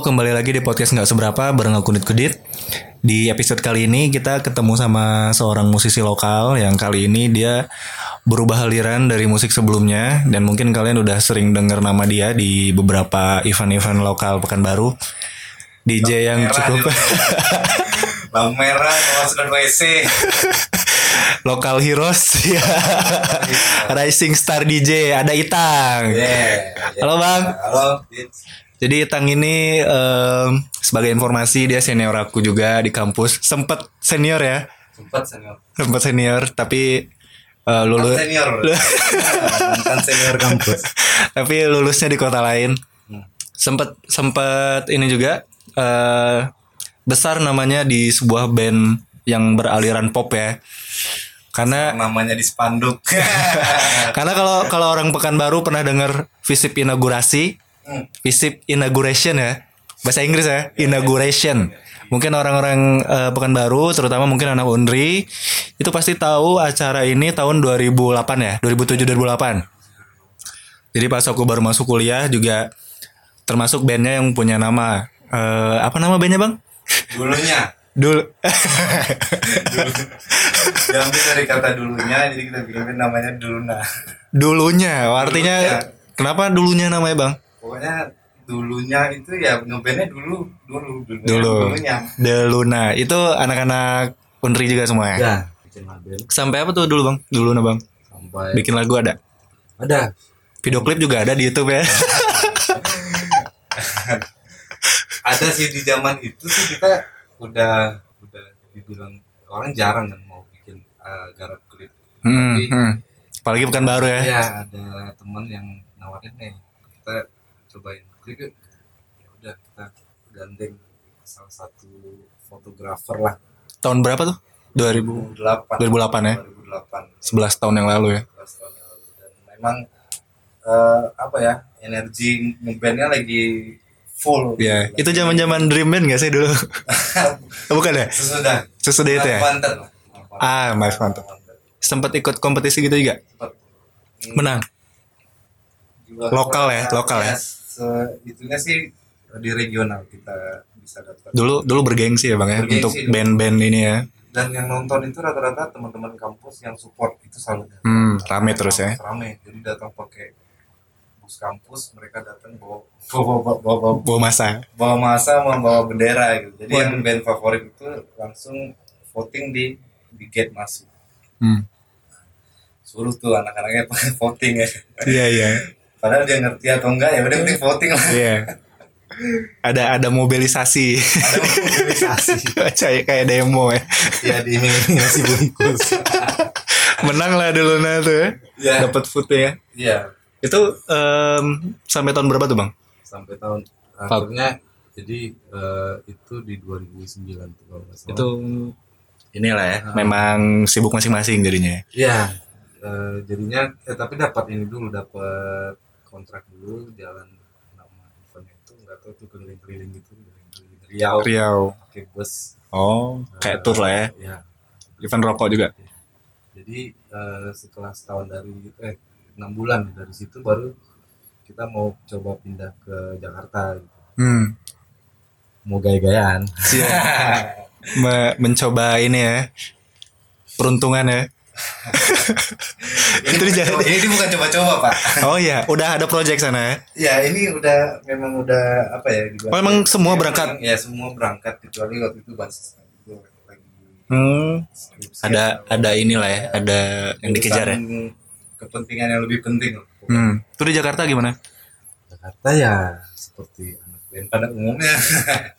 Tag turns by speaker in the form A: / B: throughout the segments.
A: kembali lagi di podcast nggak seberapa bareng aku Nit Kudit. Di episode kali ini kita ketemu sama seorang musisi lokal yang kali ini dia berubah aliran dari musik sebelumnya dan mungkin kalian udah sering dengar nama dia di beberapa event-event lokal Pekanbaru. DJ yang
B: merah
A: cukup
B: Bang merah kemasukan WC.
A: lokal heroes ya. Rising Star DJ ada Itang.
B: Iya, Yeah.
A: Halo, Bang.
B: Halo. Dits.
A: Jadi Tang ini em, sebagai informasi dia senior aku juga di kampus. Sempet senior ya.
B: Sempat senior.
A: Sempet senior tapi eh,
B: Mantan
A: lulus
B: senior. Mantan senior kampus.
A: tapi lulusnya di kota lain. Sempet sempet ini juga eh, besar namanya di sebuah band yang beraliran pop ya. Karena
B: Namanya di spanduk.
A: karena kalau kalau orang Pekanbaru pernah dengar visip inaugurasi,
B: Hmm.
A: visip inauguration ya. Bahasa Inggris ya, inauguration. Mungkin orang-orang eh, Pekanbaru, terutama mungkin anak Undri, itu pasti tahu acara ini tahun 2008 ya, 2007 2008. Jadi pas aku baru masuk kuliah juga termasuk bandnya yang punya nama Eh, apa nama bandnya bang?
B: Dulunya.
A: Dul.
B: Diambil dari kata dulunya, jadi kita bikin namanya Duluna.
A: Dulunya, artinya kenapa dulunya namanya bang?
B: Pokoknya dulunya itu ya ngebandnya dulu, dulu, dulu,
A: Dulu.
B: dulunya.
A: The Luna itu anak-anak Undri juga semua ya.
C: Ya, bikin lagu
A: Sampai apa tuh dulu bang? Dulu nah bang.
C: sampai
A: Bikin lagu ada.
C: ada
A: Video klip juga ada di YouTube ya.
B: ada sih di zaman itu sih kita udah udah dibilang orang jarang kan mau bikin eh, garap klip
A: Hmm, hmm. Apalagi bukan baru ya.
B: ya ada teman yang nawarin nih kita cobain klip yuk." ya udah kita gandeng salah satu fotografer lah
A: Tahun berapa tuh? 2000
B: 2008
A: 2008 ya.
B: 2008
A: 11 tahun yang lalu ya.
B: 11 tahun yang lalu. dan memang eh, apa ya energi ngebandnya lagi full
A: Ya,
B: gitu.
A: itu zaman-zaman Dream Band gak sih dulu? Bukan ya?
B: sesudah
A: Sesudah itu ya.
B: Mantan lah.
A: Ah, Mas Mantap.
B: Mantan.
A: Sempat ikut kompetisi gitu juga.
B: Cepat.
A: Menang.
B: Juga-
A: Lokal ya, lokal ya.
B: se- itunya sih di regional kita bisa dapat.
A: Dulu dulu bergengsi ya, Bang ya
B: Bergengsi
A: untuk
B: dulu.
A: band-band ini ya.
B: Dan yang nonton itu rata-rata teman-teman kampus yang support itu selalu.
A: Hmm, rame terus ya.
B: Rame. Jadi datang pakai bus kampus, mereka datang bawa bawa bawa, bawa, bawa-
A: Bawa masa.
B: bawa masa membawa bendera gitu. Jadi
A: Waduh.
B: yang band favorit itu langsung voting di di gate masuk.
A: Hmm.
B: Suruh tuh anak-anaknya pakai voting ya.
A: Iya, iya.
B: Padahal dia ngerti atau enggak ya udah penting voting lah.
A: Iya. Ada ada mobilisasi.
B: Ada mobilisasi.
A: kayak kayak demo ya.
C: ya di masih bungkus
A: Menang lah dulu nah tuh ya.
B: Iya.
A: Dapat foto ya.
B: Iya,
A: Itu em, sampai tahun berapa tuh, Bang?
C: sampai tahun akhirnya jadi eh, itu di 2009 tuh kalau nggak salah.
A: Itu inilah ya. Memang sibuk masing-masing jadinya. ya.
C: ya eh, jadinya eh, tapi dapat ini dulu dapat kontrak dulu jalan nama eventnya itu nggak tahu tuh keliling-keliling gitu keliling-keliling Riau
A: Riau.
C: pakai bus
A: Oh, kayak tour lah ya.
C: ya
A: Event rokok juga.
C: Jadi eh, setelah setahun dari eh enam bulan dari situ baru kita mau coba pindah ke Jakarta, gitu.
A: Hmm.
C: mau gaya-gayaan.
A: Me- mencoba ini ya. Peruntungan ya. Itu
B: ini, bukan
A: dijahit.
B: coba- ini bukan coba-coba pak.
A: Oh iya, udah ada project sana ya.
B: Ya ini udah memang udah apa ya? dibilang-
A: Oh, emang semua berangkat?
B: Ya semua berangkat kecuali waktu itu basis kan, itu lagi
A: Hmm.
B: skripsi
A: Ada
B: atau
A: ada inilah ya, ada yang dikejar ya.
B: urusan Kepentingan yang lebih penting. loh.
A: Hmm. Itu di Jakarta gimana?
C: Jakarta ya seperti anak
B: Dan pada umumnya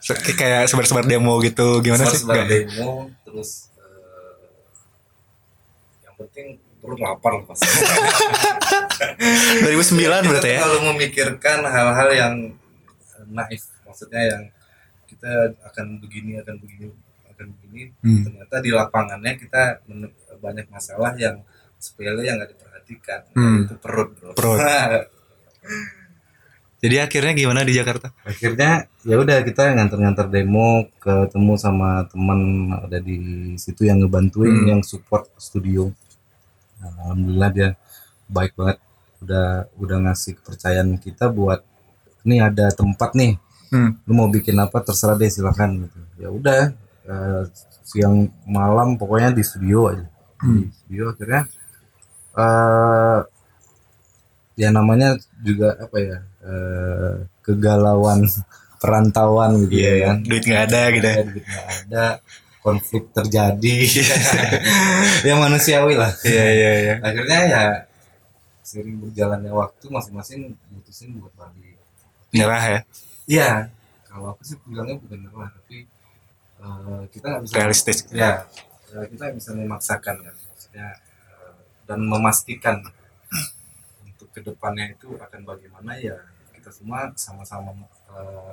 A: Se- Kayak sebar-sebar demo gitu gimana sih?
B: sebar
A: Nggak ya?
B: demo terus eh, yang penting perut lapar loh, pasti.
A: 2009 berarti ya.
B: Kalau memikirkan hal-hal yang naif, maksudnya yang kita akan begini, akan begini, akan begini,
A: Hmm.
B: ternyata di lapangannya kita men- banyak masalah yang sepele yang nggak diperhatikan.
A: Hmm.
B: Itu perut, bro.
A: Perut. Jadi akhirnya gimana di Jakarta?
C: akhirnya ya udah kita nganter-nganter demo ketemu sama teman ada di situ yang ngebantuin
A: Hmm.
C: yang support studio Nah, alhamdulillah dia baik banget udah udah ngasih kepercayaan kita buat nih ada tempat nih
A: Hmm.
B: lu mau bikin apa terserah deh silahkan gitu ya udah eh, siang malam pokoknya di studio aja di studio Iya, akhirnya eh ya namanya juga apa ya eh, kegalauan perantauan gitu
A: Iya
B: ya
A: kan, duit nggak ada gitu.
B: ada duit nggak ada konflik terjadi ya manusiawi lah
A: Iya iya iya.
B: akhirnya ya sering berjalannya waktu masing-masing mutusin buat balik
A: Nyerah ya,
B: Iya. Kalau aku sih bilangnya bukan nyerah, tapi eh, kita nggak bisa.
A: realistis.
B: Ya, eh, kita nggak bisa memaksakan kan, maksudnya eh, dan memastikan untuk kedepannya itu akan bagaimana ya kita semua sama-sama eh,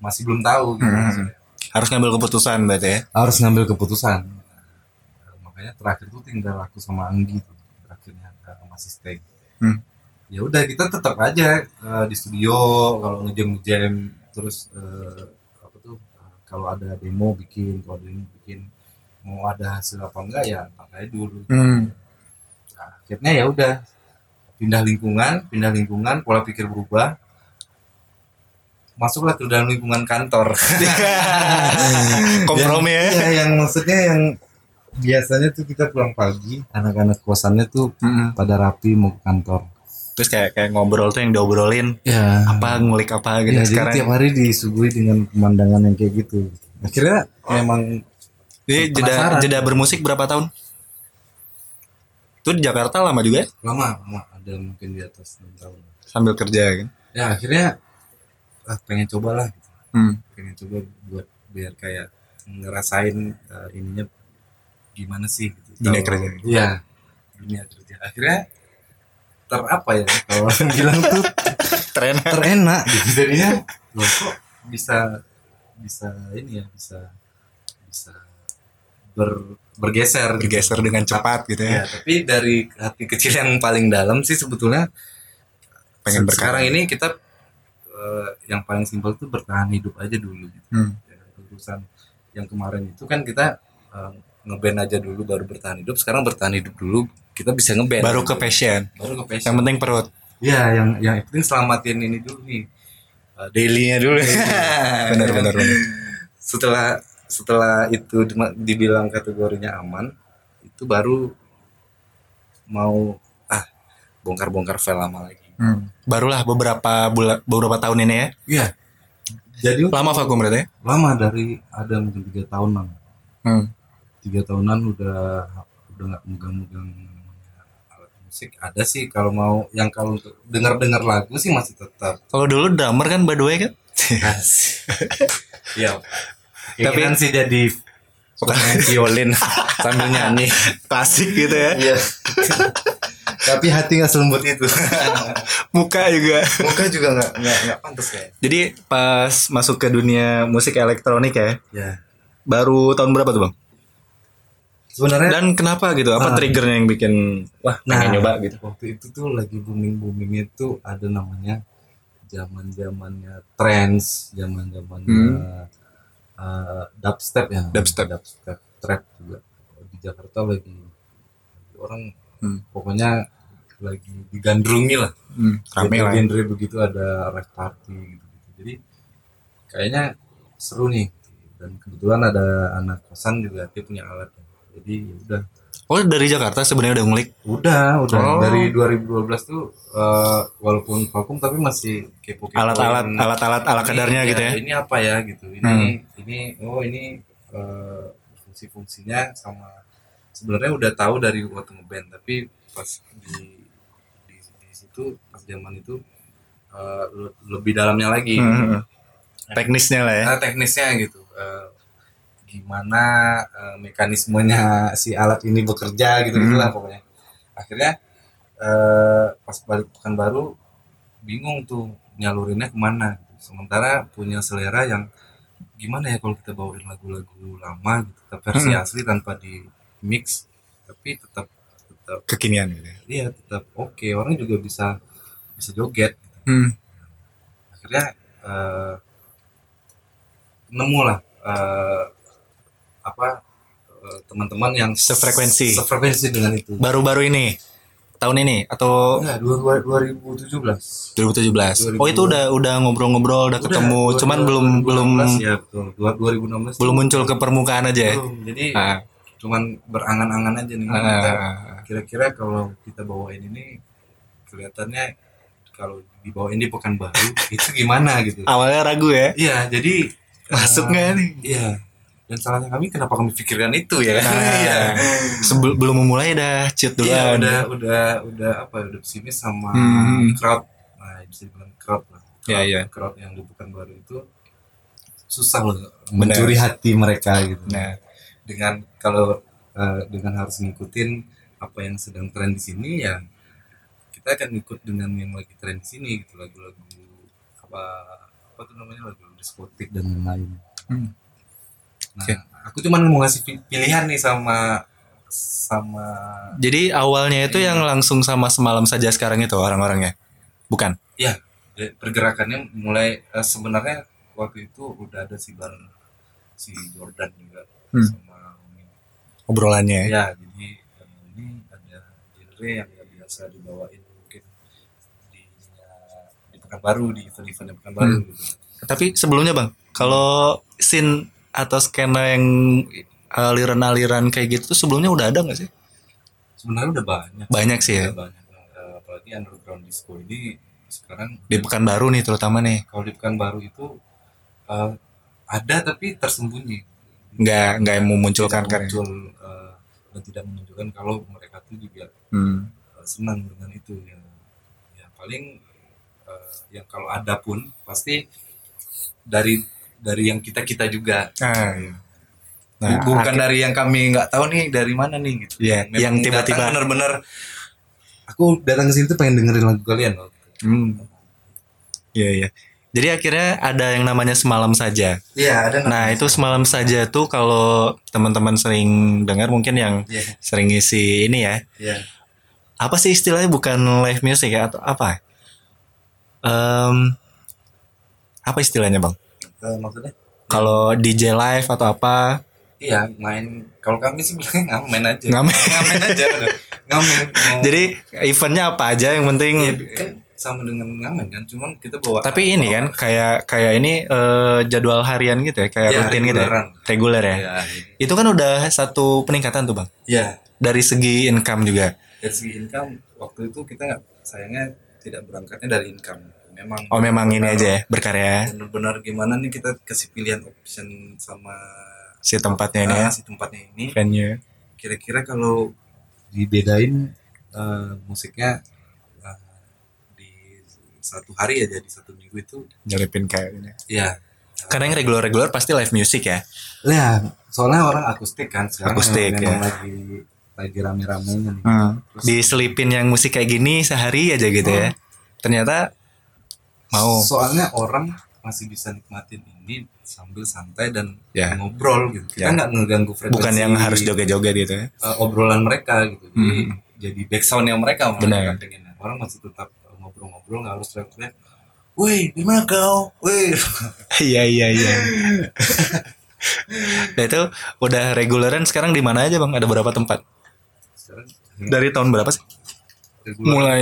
B: masih belum tahu. Gitu,
A: Hmm.
B: maksudnya.
A: Harus ngambil keputusan berarti ya.
B: Harus ngambil keputusan. Eh, makanya terakhir tuh tinggal aku sama Anggi tuh, terakhirnya eh, sama si Steng.
A: Hmm.
B: Ya udah kita tetap aja eh, di studio kalau ngejam-ngejam terus eh, apa tuh eh, kalau ada demo bikin, kalau ada demo bikin mau ada hasil apa enggak ya pakai dulu.
A: Hmm.
B: Nah, akhirnya ya udah pindah lingkungan, pindah lingkungan, pola pikir berubah. Masuklah ke dalam lingkungan kantor.
A: Kompromi ya.
B: yang, iya, yang maksudnya yang biasanya tuh kita pulang pagi anak-anak kosannya tuh
A: Mm-mm.
B: pada rapi mau ke kantor
A: Hmm. Terus kayak kayak ngobrol tuh yang diobrolin
B: ya
A: apa ngulik apa gitu
B: ya, jadi
A: sekarang.
B: tiap hari disuguhi dengan pemandangan yang kayak gitu akhirnya memang
A: Jadi jeda
B: penasaran.
A: jeda bermusik berapa tahun? Itu di Jakarta lama juga ya?
B: lama lama ada mungkin di atas 6 tahun
A: Sambil kerja kan.
B: ya akhirnya ah, pengen cobalah gitu.
A: Hmm.
B: pengen coba buat biar kayak ngerasain eh, ininya gimana sih gitu.
A: Dunia
B: Kalau-
A: kerja.
B: iya dunia kerja akhirnya ter apa ya kalau orang bilang tuh
A: Tren.
B: terenak gitu
A: Iya.
B: jadinya loh kok bisa bisa ini ya bisa bisa ber, bergeser gitu.
A: Bergeser dengan cepat gitu ya.
B: ya tapi dari hati kecil yang paling dalam sih sebetulnya
A: Pengen
B: se-
A: berkarya.
B: sekarang ini kita eh, yang paling simpel tuh bertahan hidup aja dulu gitu.
A: Hmm.
B: Ya, urusan yang kemarin itu kan kita eh, ngeband aja dulu baru bertahan hidup sekarang bertahan hidup dulu kita bisa ngeband
A: Baru ke passion.
B: baru ke passion.
A: Yang penting perut.
B: Iya, yang yang penting selamatin ini dulu nih. Uh, dailynya dulu.
A: Benar benar benar.
B: Setelah setelah itu di- dibilang kategorinya aman, itu baru mau ah bongkar-bongkar file lama lagi.
A: Hmm. Barulah beberapa bulan beberapa tahun ini ya.
B: Iya. Jadi
A: Lama vakum berarti ya?
B: lama dari ada mungkin tiga tahunan.
A: Hmm.
B: Tiga tahunan udah udah nggak megang-megang alat musik. Ada sih kalau mau yang kalau untuk dengar-dengar lagu sih masih tetap
A: Kalau dulu drummer kan by the way kan.
B: Iya.
A: Tapi-
B: Tapi kan sih jadi pemain violin sambil nyanyi.
A: Klasik gitu ya.
B: Iya. Tapi hati nggak selembut itu.
A: Muka juga.
B: Muka juga nggak nggak nggak pantas kayak.
A: Jadi pas masuk ke dunia musik elektronik ya.
B: Ya.
A: Baru tahun berapa tuh, Bang?
B: Sebenarnya
A: Dan kenapa gitu? Apa
B: Ah.
A: triggernya yang bikin wah pengen nyoba gitu?
B: Nah, Waktu itu tuh lagi booming booming itu ada namanya zaman zamannya trance, zaman zamannya eh, dubstep ya.
A: Hmm. Dubstep.
B: Dubstep trap juga di Jakarta lagi orang
A: Hmm.
B: pokoknya lagi digandrungi lah
A: Hmm, rame lah.
B: genre-genre begitu ada rave party gitu, gitu jadi kayaknya seru nih dan kebetulan ada anak kosan juga dia punya alat jadi ya udah
A: Oh dari Jakarta sebenarnya udah ngulik.
B: udah udah
A: Oh.
B: dari 2012 tuh eh, walaupun vakum tapi masih kepo kepo
A: Alat-alat, alat-alat ala kadarnya gitu ya.
B: ini apa ya gitu ini
A: Hmm.
B: ini oh ini eh, fungsi-fungsinya sama sebenarnya udah tahu dari waktu ngeband tapi pas di di, di situ pas zaman itu eh, le- lebih dalamnya lagi
A: Hmm, Teknisnya lah ya.
B: Nah, teknisnya gitu Eh, gimana eh, mekanismenya si alat ini bekerja gitu gitulah pokoknya akhirnya eh, pas balik pekanbaru bingung tuh nyalurinnya kemana gitu. sementara punya selera yang gimana ya kalau kita bawain lagu-lagu lama gitu tetap versi
A: Mm-mm.
B: asli tanpa di mix tapi tetap tetap
A: Kekinian gitu. ya.
B: iya tetap oke orang juga bisa bisa joget
A: Hmm.
B: akhirnya eh nemu lah eh, apa eh, teman-teman yang
A: Sefrekuensi.
B: sefrekuensi dengan itu
A: Baru-baru ini tahun ini atau
B: Enggak, dua- dua- 2017.
A: 2017. Oh itu udah udah ngobrol-ngobrol, udah, ketemu,
B: Udah,
A: cuman
B: dua-
A: belum belum
B: 2016, ya betul. Dua- 2016.
A: belum muncul ke permukaan aja ya.
B: Belum. Jadi
A: Ah,
B: cuman berangan-angan aja nih.
A: ah,
B: Kita
A: ah, ah.
B: kira-kira kalau kita bawain ini kelihatannya kalau dibawain di Pekanbaru itu gimana gitu.
A: Awalnya ragu ya.
B: Iya, jadi
A: Masuk
B: eh,
A: nggak nih?
B: Iya. Dan salahnya kami kenapa kami pikirkan itu ya?
A: Nah, sebelum belum memulai dah cheat dulu.
B: Iya, udah udah udah apa ya, udah pesimis sama
A: kan. Hmm.
B: crowd. Nah, bisa dibilang crowd lah.
A: Iya, iya.
B: Crowd yang di Pekanbaru itu susah loh
A: Bener.
B: mencuri hati mereka gitu.
A: Nah,
B: Dengan kalau eh, dengan harus ngikutin apa yang sedang tren di sini ya kita akan ikut dengan yang lagi tren di sini gitu lagu-lagu apa apa tuh namanya lagu diskotik dan lain-lain.
A: Hmm.
B: Nah,
A: Oke.
B: aku cuman mau ngasih pi- pilihan nih sama sama
A: jadi awalnya itu
B: Iya.
A: yang langsung sama semalam saja sekarang itu orang-orangnya. Bukan.
B: Ya, pergerakannya mulai eh, sebenarnya waktu itu udah ada si bareng si Jordan juga
A: Hmm.
B: sama Umi.
A: Obrolannya. ya.
B: ya jadi eh, ini ada genre yang nggak biasa dibawain mungkin di di Pekanbaru di event-event di Pekanbaru gitu.
A: Tapi sebelumnya, Bang, kalau scene atau skena yang eh, aliran-aliran kayak gitu tuh sebelumnya udah ada nggak sih?
B: sebenarnya udah banyak
A: Banyak sih ya.
B: Udah banyak Eh, apalagi underground disco ini sekarang
A: Di Pekanbaru nih terutama nih.
B: kalau di Pekanbaru itu eh, ada tapi tersembunyi
A: Nggak nggak yang memunculkan
B: tidak
A: karya.
B: muncul eh, dan tidak menunjukkan kalau mereka tuh juga
A: Hmm.
B: eh, senang dengan itu ya, ya paling eh, yang kalau ada pun pasti dari dari yang kita kita juga
A: Ah, iya.
B: Bu-
A: Nah,
B: bukan dari yang kami nggak tahu nih dari mana nih gitu
A: Iya,
B: Memang
A: yang tiba-tiba.
B: datang benar-benar aku datang ke sini tuh pengen dengerin lagu kalian loh
A: Hmm. Iya iya. Jadi akhirnya ada yang namanya semalam saja.
B: iya ada
A: Nah itu semalam saja tuh kalau teman-teman sering dengar mungkin yang
B: iya
A: sering ngisi ini ya.
B: iya
A: Apa sih istilahnya bukan live music ya atau apa? Em, apa istilahnya bang?
B: Eh, maksudnya
A: Kalau DJ live atau apa?
B: iya main kalau kami sih bilangnya ngamen aja
A: Ngamen.
B: ngamen aja udah ngamen Mau-
A: Jadi eventnya apa aja yang penting.
B: Iya, kan sama dengan ngamen kan cuman kita bawa
A: Tapi ini kan kayak kayak ini eh, jadwal harian gitu ya, kayak
B: Iya,
A: rutin gitu, ya?
B: reguleran.
A: reguler ya.
B: ya
A: Itu kan udah satu peningkatan tuh bang.
B: ya
A: dari segi income juga.
B: dari segi income waktu itu kita nggak- sayangnya tidak berangkatnya dari income memang
A: Oh memang ini aja ya berkarya
B: benar-benar gimana nih kita kasih pilihan option sama
A: si tempatnya ini ya
B: ah, si tempatnya ini
A: venue.
B: kira-kira kalau dibedain eh, musiknya eh, di satu hari aja di satu minggu itu
A: Nyelipin kayak ini.
B: ya
A: Karena yang regular-regular pasti live music ya.
B: ya soalnya orang akustik kan sekarang
A: Akustik, ya.
B: memang lagi lagi rame-ramenya nih
A: Hmm. Diselipin yang musik kayak gini sehari aja gitu ya. Ternyata mau.
B: soalnya orang masih bisa nikmatin ini sambil santai dan
A: Ya.
B: ngobrol gitu
A: Ya.
B: kita nggak ngeganggu frekuensi
A: Bukan yang harus joget-joget gitu ya.
B: eh, obrolan mereka gitu jadi
A: Hmm.
B: jadi backsound yang mereka malah
A: Benar.
B: mereka pengennya. orang masih tetap eh, ngobrol-ngobrol nggak harus teriak-teriak Woi, gimana kau? Woi,
A: Iya iya iya. Nah itu udah reguleran sekarang di mana aja bang? Ada berapa tempat?
B: sekarang
A: Dari tahun berapa sih?
B: reguler.
A: Mulai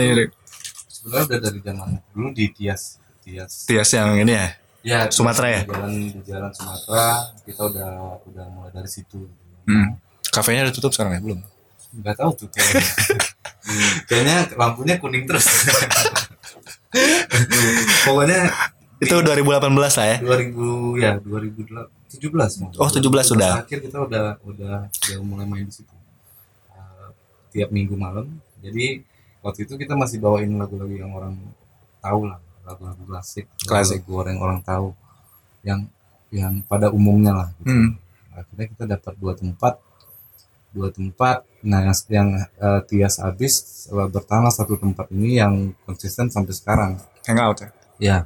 B: sebenarnya udah dari zaman dulu di Tias, Tias.
A: tias yang ini ya.
B: Ya, di
A: Sumatera ya?
B: Jalan di jalan Sumatera, kita udah udah mulai dari situ.
A: Hmm. Kafenya udah tutup sekarang ya belum?
B: Gak tahu tuh kayaknya. Hmm, kayaknya lampunya kuning terus. Pokoknya
A: Itu 2018 lah ya.
B: 2000 ya 2017
A: Oh,
B: mau.
A: 17 sudah.
B: Akhir kita udah udah udah mulai main di situ. Uh, tiap minggu malam. Jadi waktu itu kita masih bawain lagu-lagu yang orang tahu lah, lagu-lagu klasik,
A: Klasik.
B: lagu orang orang tahu yang yang pada umumnya lah. gitu.
A: Hmm.
B: Akhirnya kita dapat dua tempat dua tempat nah yang, yang uh, tias habis uh, bertahanlah satu tempat ini yang konsisten sampai sekarang
A: Hangout ya.
B: Ya.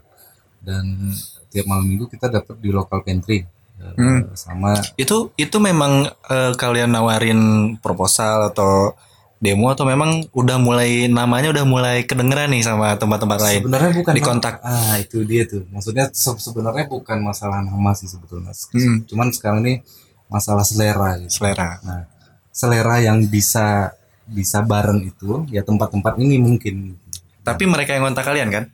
B: Dan tiap malam minggu kita dapat di local pantry Eh,
A: Hmm.
B: sama
A: Itu itu memang eh, kalian nawarin proposal atau demo atau memang udah mulai namanya udah mulai kedengeran nih sama tempat-tempat lain.
B: sebenarnya bukan
A: Di kontak.
B: ah itu dia tuh maksudnya se- sebenarnya bukan masalah nama sih sebetulnya
A: Hmm.
B: cuman sekarang ini masalah selera gitu.
A: Selera.
B: nah selera yang bisa bisa bareng itu ya tempat-tempat ini mungkin
A: Tapi mereka yang kontak kalian kan?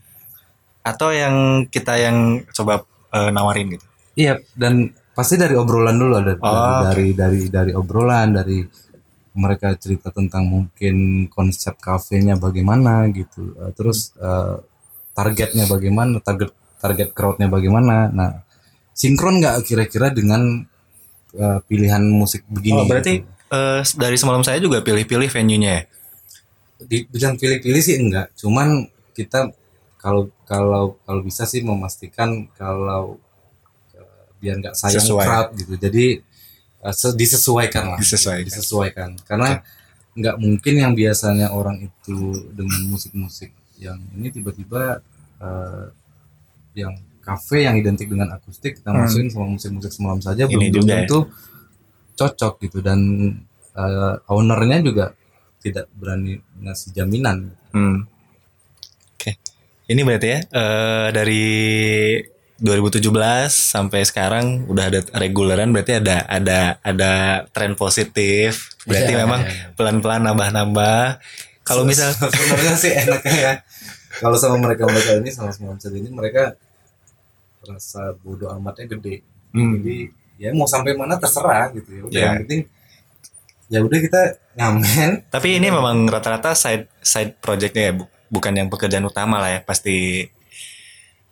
A: Atau yang kita yang coba eh, nawarin gitu?
B: iya dan pasti dari obrolan dulu ada
A: Oh.
B: dari, dari dari dari obrolan dari mereka cerita tentang mungkin konsep kafenya bagaimana gitu Eh, terus eh, targetnya bagaimana target target crowdnya bagaimana nah sinkron nggak kira-kira dengan eh, pilihan musik
A: Oh
B: begini
A: berarti
B: gitu?
A: eh, dari semalam saya juga pilih-pilih venue-nya ya?
B: dibilang pilih-pilih sih enggak cuman kita kalau kalau kalau bisa sih memastikan kalau eh, biar nggak sayang
A: Sesuai.
B: crowd gitu jadi eh, se- disesuaikan lah
A: Disesuaikan.
B: Disesuaikan. karena nggak mungkin yang biasanya orang itu dengan musik-musik yang ini tiba-tiba eh, yang kafe yang identik dengan akustik kita
A: Hmm.
B: masukin sama musik-musik semalam
A: Ini
B: saja belum belum
A: juga ya.
B: tentu cocok gitu dan eh, ownernya juga tidak berani ngasih jaminan
A: Hmm. Oke. Ini berarti ya eh, dari 2017 sampai sekarang udah ada reguleran berarti ada ada ada tren positif. Berarti
B: Iya,
A: memang
B: iya.
A: pelan-pelan nambah-nambah. Kalau misal
B: sebenarnya sih enaknya ya kalau sama mereka mereka ini sama sama saja ini mereka rasa bodoh amatnya gede
A: Hmm.
B: jadi ya mau sampai mana terserah gitu ya udah
A: Iya.
B: yang penting ya udah kita ngamen
A: tapi ini memang rata-rata side side projectnya ya, bu- bukan yang pekerjaan utama lah ya pasti.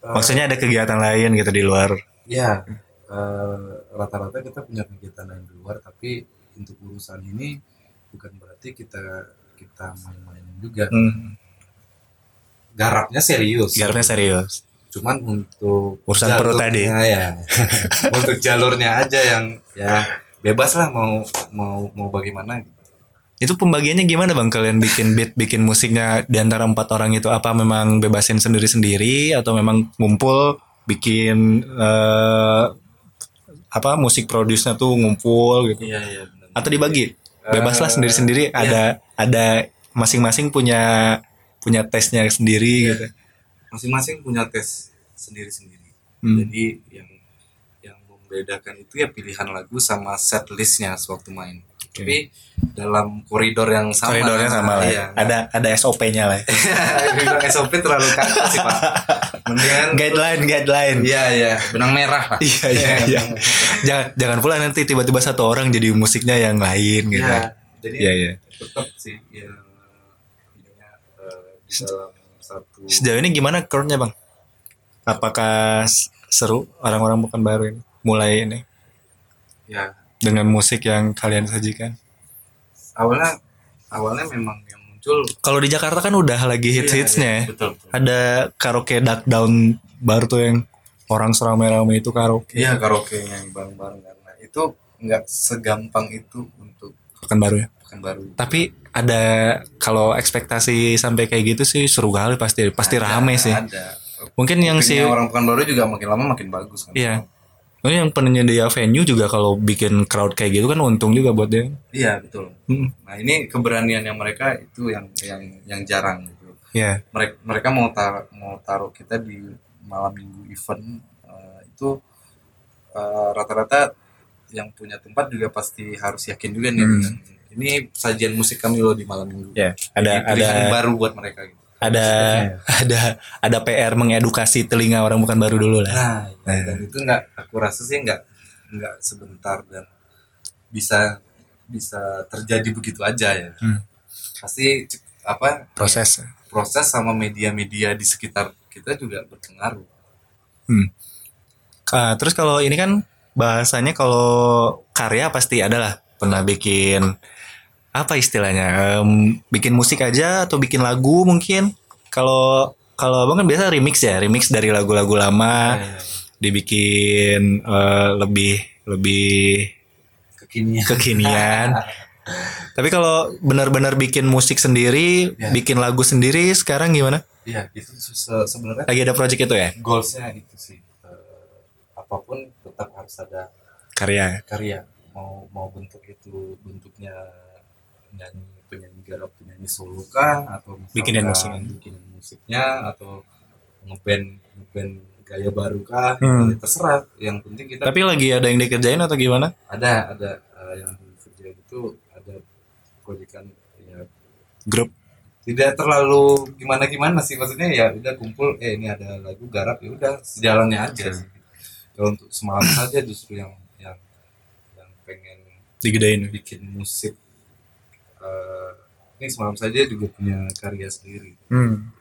A: Maksudnya ada kegiatan lain gitu di luar.
B: ya eh, rata-rata kita punya kegiatan yang di luar tapi untuk urusan ini bukan berarti kita kita main-main juga
A: Hmm.
B: garapnya serius
A: Garapnya serius.
B: cuman untuk
A: Urusan perut tadi.
B: jalurnya ya untuk jalurnya aja yang ya bebas lah mau mau mau bagaimana
A: Itu pembagiannya gimana bang? Kalian bikin beat, bikin musiknya di antara empat orang itu apa memang bebasin sendiri-sendiri atau memang ngumpul bikin eh, apa musik produce-nya tuh ngumpul gitu?
B: iya iya benar
A: Atau dibagi? Bebaslah
B: Eh, iya.
A: sendiri-sendiri. Ada ada masing-masing punya punya tesnya sendiri
B: Iya.
A: gitu.
B: masing-masing punya tes sendiri-sendiri
A: Hmm.
B: jadi yang yang membedakan itu ya pilihan lagu sama set listnya sewaktu main
A: Oke.
B: tapi dalam koridor yang sama
A: Koridornya sama lah. ya.
B: iya.
A: Ada ada SOP-nya lah. ya.
B: koridor SOP terlalu kaku sih pak mendingan
A: guideline, guideline.
B: iya iya benang merah pak
A: Iya iya iya. jangan jangan pula nanti tiba-tiba satu orang jadi musiknya yang lain gitu.
B: Iya, jadi
A: Iya iya.
B: tetap sih ya ininya eh, di dalam satu
A: Sejauh ini gimana crowd-nya bang? Apakah s- seru orang-orang bukan baru ini? Mulai ini
B: ya
A: dengan musik yang kalian sajikan.
B: awalnya awalnya memang yang muncul
A: Kalau di Jakarta kan udah lagi
B: Iya,
A: hits-hitsnya. ya.
B: betul, betul.
A: Ada karaoke duck down bar tuh yang orang seramai-ramai itu karaoke
B: iya karaoke yang bareng-bareng karena itu nggak segampang itu untuk
A: bukan baru ya.
B: pekan baru
A: Tapi ada kalau ekspektasi sampai kayak gitu sih seru kali pasti pasti rame sih.
B: ada
A: Mungkin yang si
B: Kupingnya orang pekan baru juga makin lama makin bagus kan
A: Iya. Lalu yang penyedia venue juga kalau bikin crowd kayak gitu kan untung juga buat dia.
B: iya betul
A: Hmm.
B: nah ini keberanian yang mereka itu yang yang yang jarang gitu
A: Iya.
B: mereka mereka mau taruh mau taruh kita di malam minggu event eh, itu eh, rata-rata yang punya tempat juga pasti harus yakin juga nih
A: Hmm.
B: dengan, ini sajian musik kami loh di malam minggu
A: Iya. Ada
B: Ini
A: ada
B: pilihan baru buat mereka gitu
A: ada ada ada PR mengedukasi telinga orang bukan baru dulu lah.
B: nah iya, dan itu nggak aku rasa sih nggak nggak sebentar dan bisa bisa terjadi begitu aja ya
A: Hmm.
B: pasti c- apa
A: Proses.
B: proses sama media-media di sekitar kita juga berpengaruh
A: Hmm. Ah, terus kalau ini kan bahasanya kalau karya pasti ada lah pernah bikin apa istilahnya Em, bikin musik aja atau bikin lagu mungkin kalau kalau abang kan biasa remix ya remix dari lagu-lagu lama dibikin eh, lebih lebih
B: kekinian
A: kekinian. Tapi kalau benar-benar bikin musik sendiri,
B: Ya.
A: bikin lagu sendiri, sekarang gimana?
B: Iya, itu se- se- sebenarnya
A: Lagi ada project itu ya?
B: goalsnya itu sih. Eh, apapun tetap harus ada
A: Karya.
B: karya. Mau mau bentuk itu bentuknya nyanyi penyanyi garap penyanyi solo kah atau misalkan
A: Bikinin musiknya.
B: bikinin musiknya atau ngeband ngeband gaya baru kah
A: Hmm.
B: Ya, terserah yang penting kita
A: Tapi lagi ada yang dikerjain atau gimana?
B: ada ada eh, yang kerja itu ada gitu, proyekan ya
A: grup
B: tidak terlalu gimana gimana sih maksudnya ya udah kumpul eh ini ada lagu garap ya udah sejalannya
A: Hmm.
B: aja sih. kalau untuk semalam saja justru yang yang yang pengen
A: digedein
B: bikin musik eh, ini semalam saja juga punya karya sendiri
A: hmm.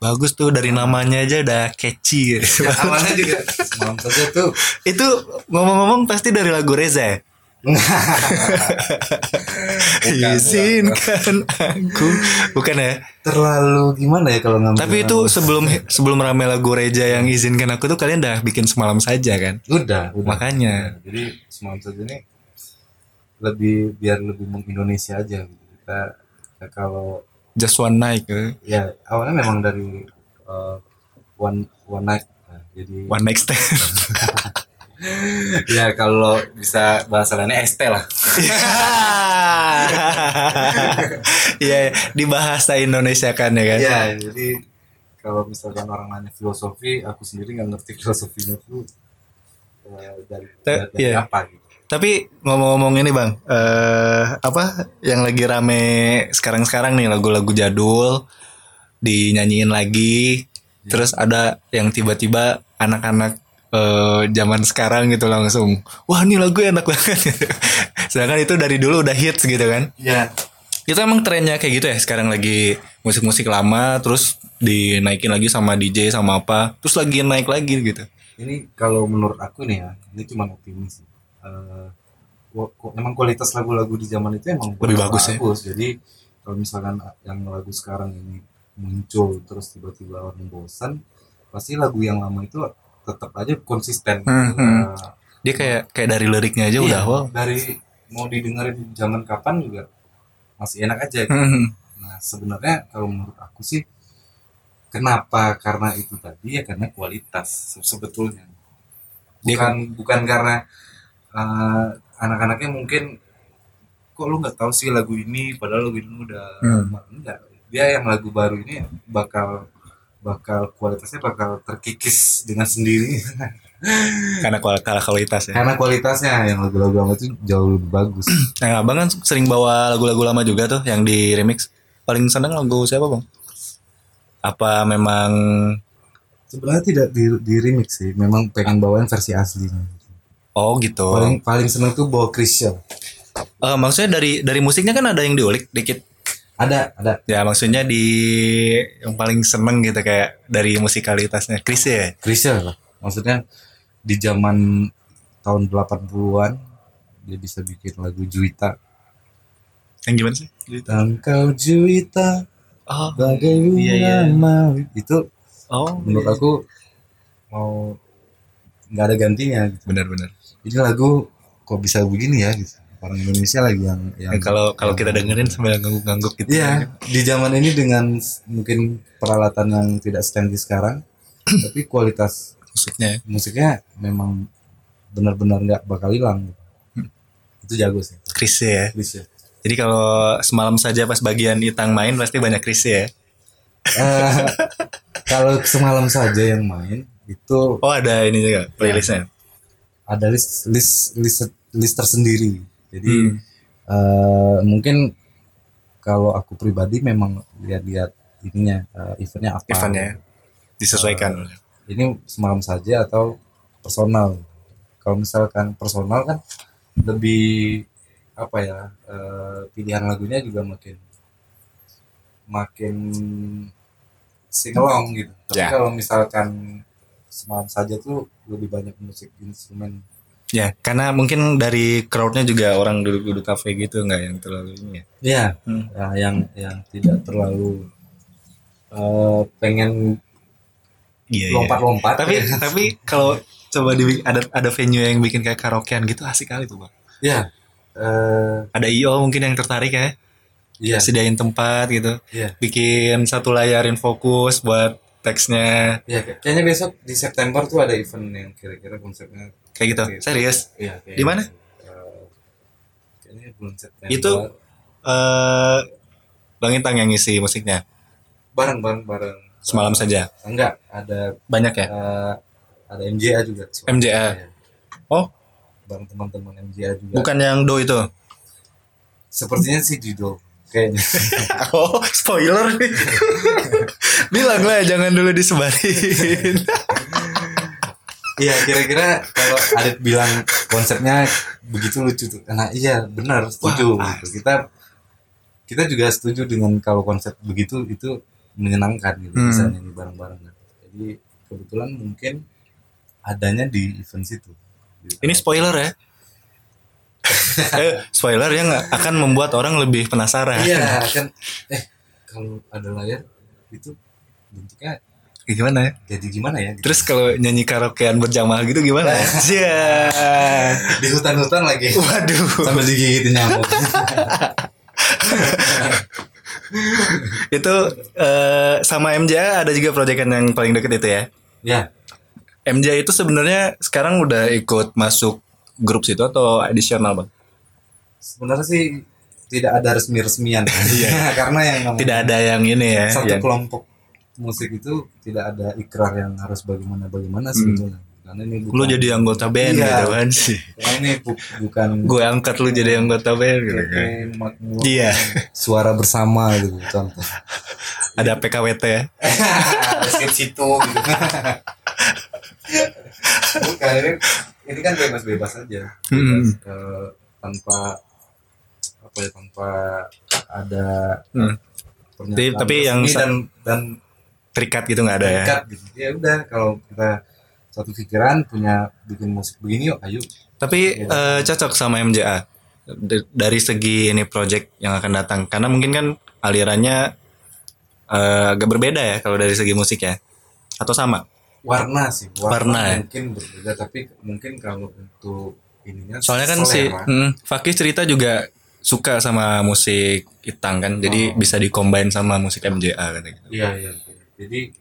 A: bagus tuh dari namanya aja udah catchy gitu.
B: Ya, awalnya juga semalam saja tuh
A: itu ngomong-ngomong pasti dari lagu Reza ya?
B: bukan.
A: Izinkan aku bukan ya
B: terlalu gimana ya kalau ngambil
A: tapi itu sebelum sebelum rame lagu Reza yang izinkan aku tuh kalian udah bikin semalam saja kan
B: udah udah
A: makanya
B: Ya, jadi semalam saja ini lebih biar lebih mengindonesia aja gitu. kita, kita kalau
A: just one night eh.
B: ya awalnya memang dari eh, one one night Nah, jadi
A: one night stand
B: ya kalau bisa bahasa lainnya ST lah
A: Iya, di bahasa Indonesia kan ya kan.
B: ya jadi kalau misalkan orang nanya filosofi aku sendiri nggak ngerti filosofinya tuh eh, dari,
A: Ta-
B: dari
A: iya.
B: apa gitu
A: Tapi ngomong-ngomong ini bang, eh apa yang lagi rame sekarang-sekarang nih lagu-lagu jadul dinyanyiin lagi, terus ada yang tiba-tiba anak-anak eh, zaman sekarang gitu langsung, wah ini lagu enak banget. Sedangkan itu dari dulu udah hits gitu kan.
B: ya
A: Itu emang trennya kayak gitu ya sekarang lagi musik-musik lama terus dinaikin lagi sama DJ sama apa, terus lagi naik lagi gitu.
B: ini kalau menurut aku nih ya ini cuma optimis sih. Eh, ku- ku- emang kualitas lagu-lagu di zaman itu emang
A: Lebih bagus ya?
B: jadi kalau misalkan yang lagu sekarang ini muncul terus tiba-tiba orang bosan pasti lagu yang lama itu tetap aja konsisten
A: Hmm, hmm.
B: Eh,
A: Dia kayak kayak dari liriknya aja
B: Iya,
A: udah wow.
B: dari mau didengerin zaman kapan juga masih enak aja gitu.
A: Hmm.
B: nah sebenarnya kalau menurut aku sih kenapa karena itu tadi ya karena kualitas se- sebetulnya
A: Iya Dia
B: bukan bukan karena eh, anak-anaknya mungkin kok lu nggak tahu sih lagu ini padahal lagu ini udah
A: Hmm.
B: enggak dia yang lagu baru ini bakal bakal kualitasnya bakal terkikis dengan
A: Iya.
B: sendirinya
A: karena kual- kalah kualitas ya.
B: karena kualitasnya yang lagu-lagu lama itu jauh lebih bagus
A: Nah, abang kan sering bawa lagu-lagu lama juga tuh yang di remix. Paling seneng lagu siapa bang? Apa memang
B: sebenarnya tidak di, di remix sih memang pengen bawain versi aslinya
A: oh gitu?
B: paling paling seneng tuh bawa Christian
A: Eh, maksudnya dari dari musiknya kan ada yang diulik dikit.
B: ada ada
A: Ya maksudnya di yang paling seneng gitu kayak dari musikalitasnya Chris ya.
B: Christian lah maksudnya di zaman tahun 80-an dia bisa bikin lagu Juwita
A: Yang gimana sih?
B: Engkau Juwita
A: Oh,
B: bagai
A: Iya, iya.
B: bunga mawar. itu
A: oh
B: menurut aku mau nggak ada gantinya gitu.
A: benar-benar.
B: ini lagu kok bisa begini ya gitu orang Indonesia lagi yang yang
A: Ya, Kalau kalau kita dengerin sambil ngangguk-ngangguk gitu.
B: Iya, di zaman ini dengan s- mungkin peralatan yang tidak secanggih sekarang, tapi kualitas
A: Musiknya.
B: musiknya memang benar-benar nggak bakal hilang.
A: Hmm.
B: Itu jago sih.
A: Chris ya.
B: Chris ya.
A: Jadi kalau semalam saja pas bagian Itang main pasti banyak Chris ya.
B: Eh, kalau semalam saja yang main itu
A: Oh ada ini juga
B: Iya.
A: playlistnya.
B: ada list list list, list tersendiri. Jadi
A: Hmm.
B: eh, mungkin kalau aku pribadi memang lihat-lihat ininya eh, eventnya apa.
A: Eventnya ya. disesuaikan.
B: Ah. ini semalam saja atau personal kalau misalkan personal kan lebih apa ya eh, pilihan lagunya juga makin makin singelong gitu tapi
A: Ya.
B: kalau misalkan semalam saja tuh lebih banyak musik instrumen
A: Ya, karena mungkin dari crowdnya juga orang duduk-duduk kafe gitu nggak yang terlalu ini ya.
B: ya
A: Hmm.
B: ya, yang yang tidak terlalu eh, pengen
A: Iya. iya.
B: lompat-lompat
A: Tapi tapi kalau coba di ada ada venue yang bikin kayak karaokean gitu asik kali tuh bang.
B: ya eh,
A: Ada IO mungkin yang tertarik ya,
B: iya
A: sediain tempat gitu,
B: iya
A: bikin satu layarin fokus buat teksnya
B: Iya, kayak- kayaknya besok di September tuh ada event yang kira-kira konsepnya
A: kayak gitu. Serius?
B: iya kayak-
A: Di mana?
B: Eh, kayaknya bulan September.
A: Itu- Eh, Bang Intang yang ngisi musiknya
B: bareng bareng bareng.
A: semalam saja.
B: Enggak, ada
A: Banyak ya.
B: eh, ada MJA juga.
A: MJA.
B: Iya,
A: Oh,
B: bareng teman-teman MJA juga.
A: bukan yang do itu.
B: Sepertinya sih Dido. kayaknya
A: Oh, spoiler nih. Bilang lah jangan dulu disebarin.
B: iya kira-kira kalau Adit bilang konsepnya begitu lucu tuh karena iya benar setuju
A: ah.
B: gitu. kita kita juga setuju dengan kalau konsep begitu itu menyenangkan gitu
A: Hmm.
B: bisa nyanyi bareng-bareng jadi kebetulan mungkin adanya di event situ Gitu.
A: Ini spoiler ya. eh, spoiler yang akan membuat orang lebih penasaran.
B: iya kan eh kalau ada layar itu bentuknya
A: Gimana ya?
B: jadi gimana ya gitu.
A: Terus kalau nyanyi karaokean berjamaah gitu gimana? ya? Iya.
B: di hutan-hutan lagi
A: Waduh.
B: sambil digigitin nyamuk
A: Itu eh, sama MJ ada juga proyekan yang paling deket itu ya.
B: ya
A: MJ itu sebenarnya sekarang udah ikut masuk grup situ atau additional bang?
B: sebenarnya sih tidak ada resmi-resmian iya karena yang namanya
A: Tidak ada yang ini ya.
B: satu
A: yang-
B: kelompok musik itu tidak ada ikrar yang harus bagaimana bagaimana
A: Hmm.
B: sebetulnya karena ini bukan
A: lu jadi anggota band
B: Iya.
A: gitu kan sih.
B: karena ini bu- bukan
A: Gue angkat lu jadi anggota band gitu kan.
B: PP makmur
A: Iya.
B: suara bersama gitu contoh
A: Ada PKWT ya.
B: skip situ gitu bukan ini ini kan bebas bebas aja bebas,
A: Hmm.
B: eh, tanpa apa ya tanpa ada
A: Hmm.
B: pernyataan
A: Tapi- tapi
B: resmi
A: yang sa-
B: dan dan
A: Terikat gitu nggak ada ya.
B: terikat gitu. ya udah kalau kita satu pikiran punya bikin musik begini yuk ayo Iya.
A: Tapi eh, cocok sama MJA D- dari segi ini project yang akan datang karena mungkin kan alirannya eh, agak berbeda ya kalau dari segi musik ya atau sama.
B: warna sih
A: Warna, ya.
B: mungkin berbeda tapi mungkin kalau untuk ininya
A: Soalnya kan si
B: selera.
A: mm, Fakih cerita juga suka sama musik Itang kan. Jadi
B: Oh.
A: bisa dikombin sama musik MJA kata gitu.
B: iya iya iya. jadi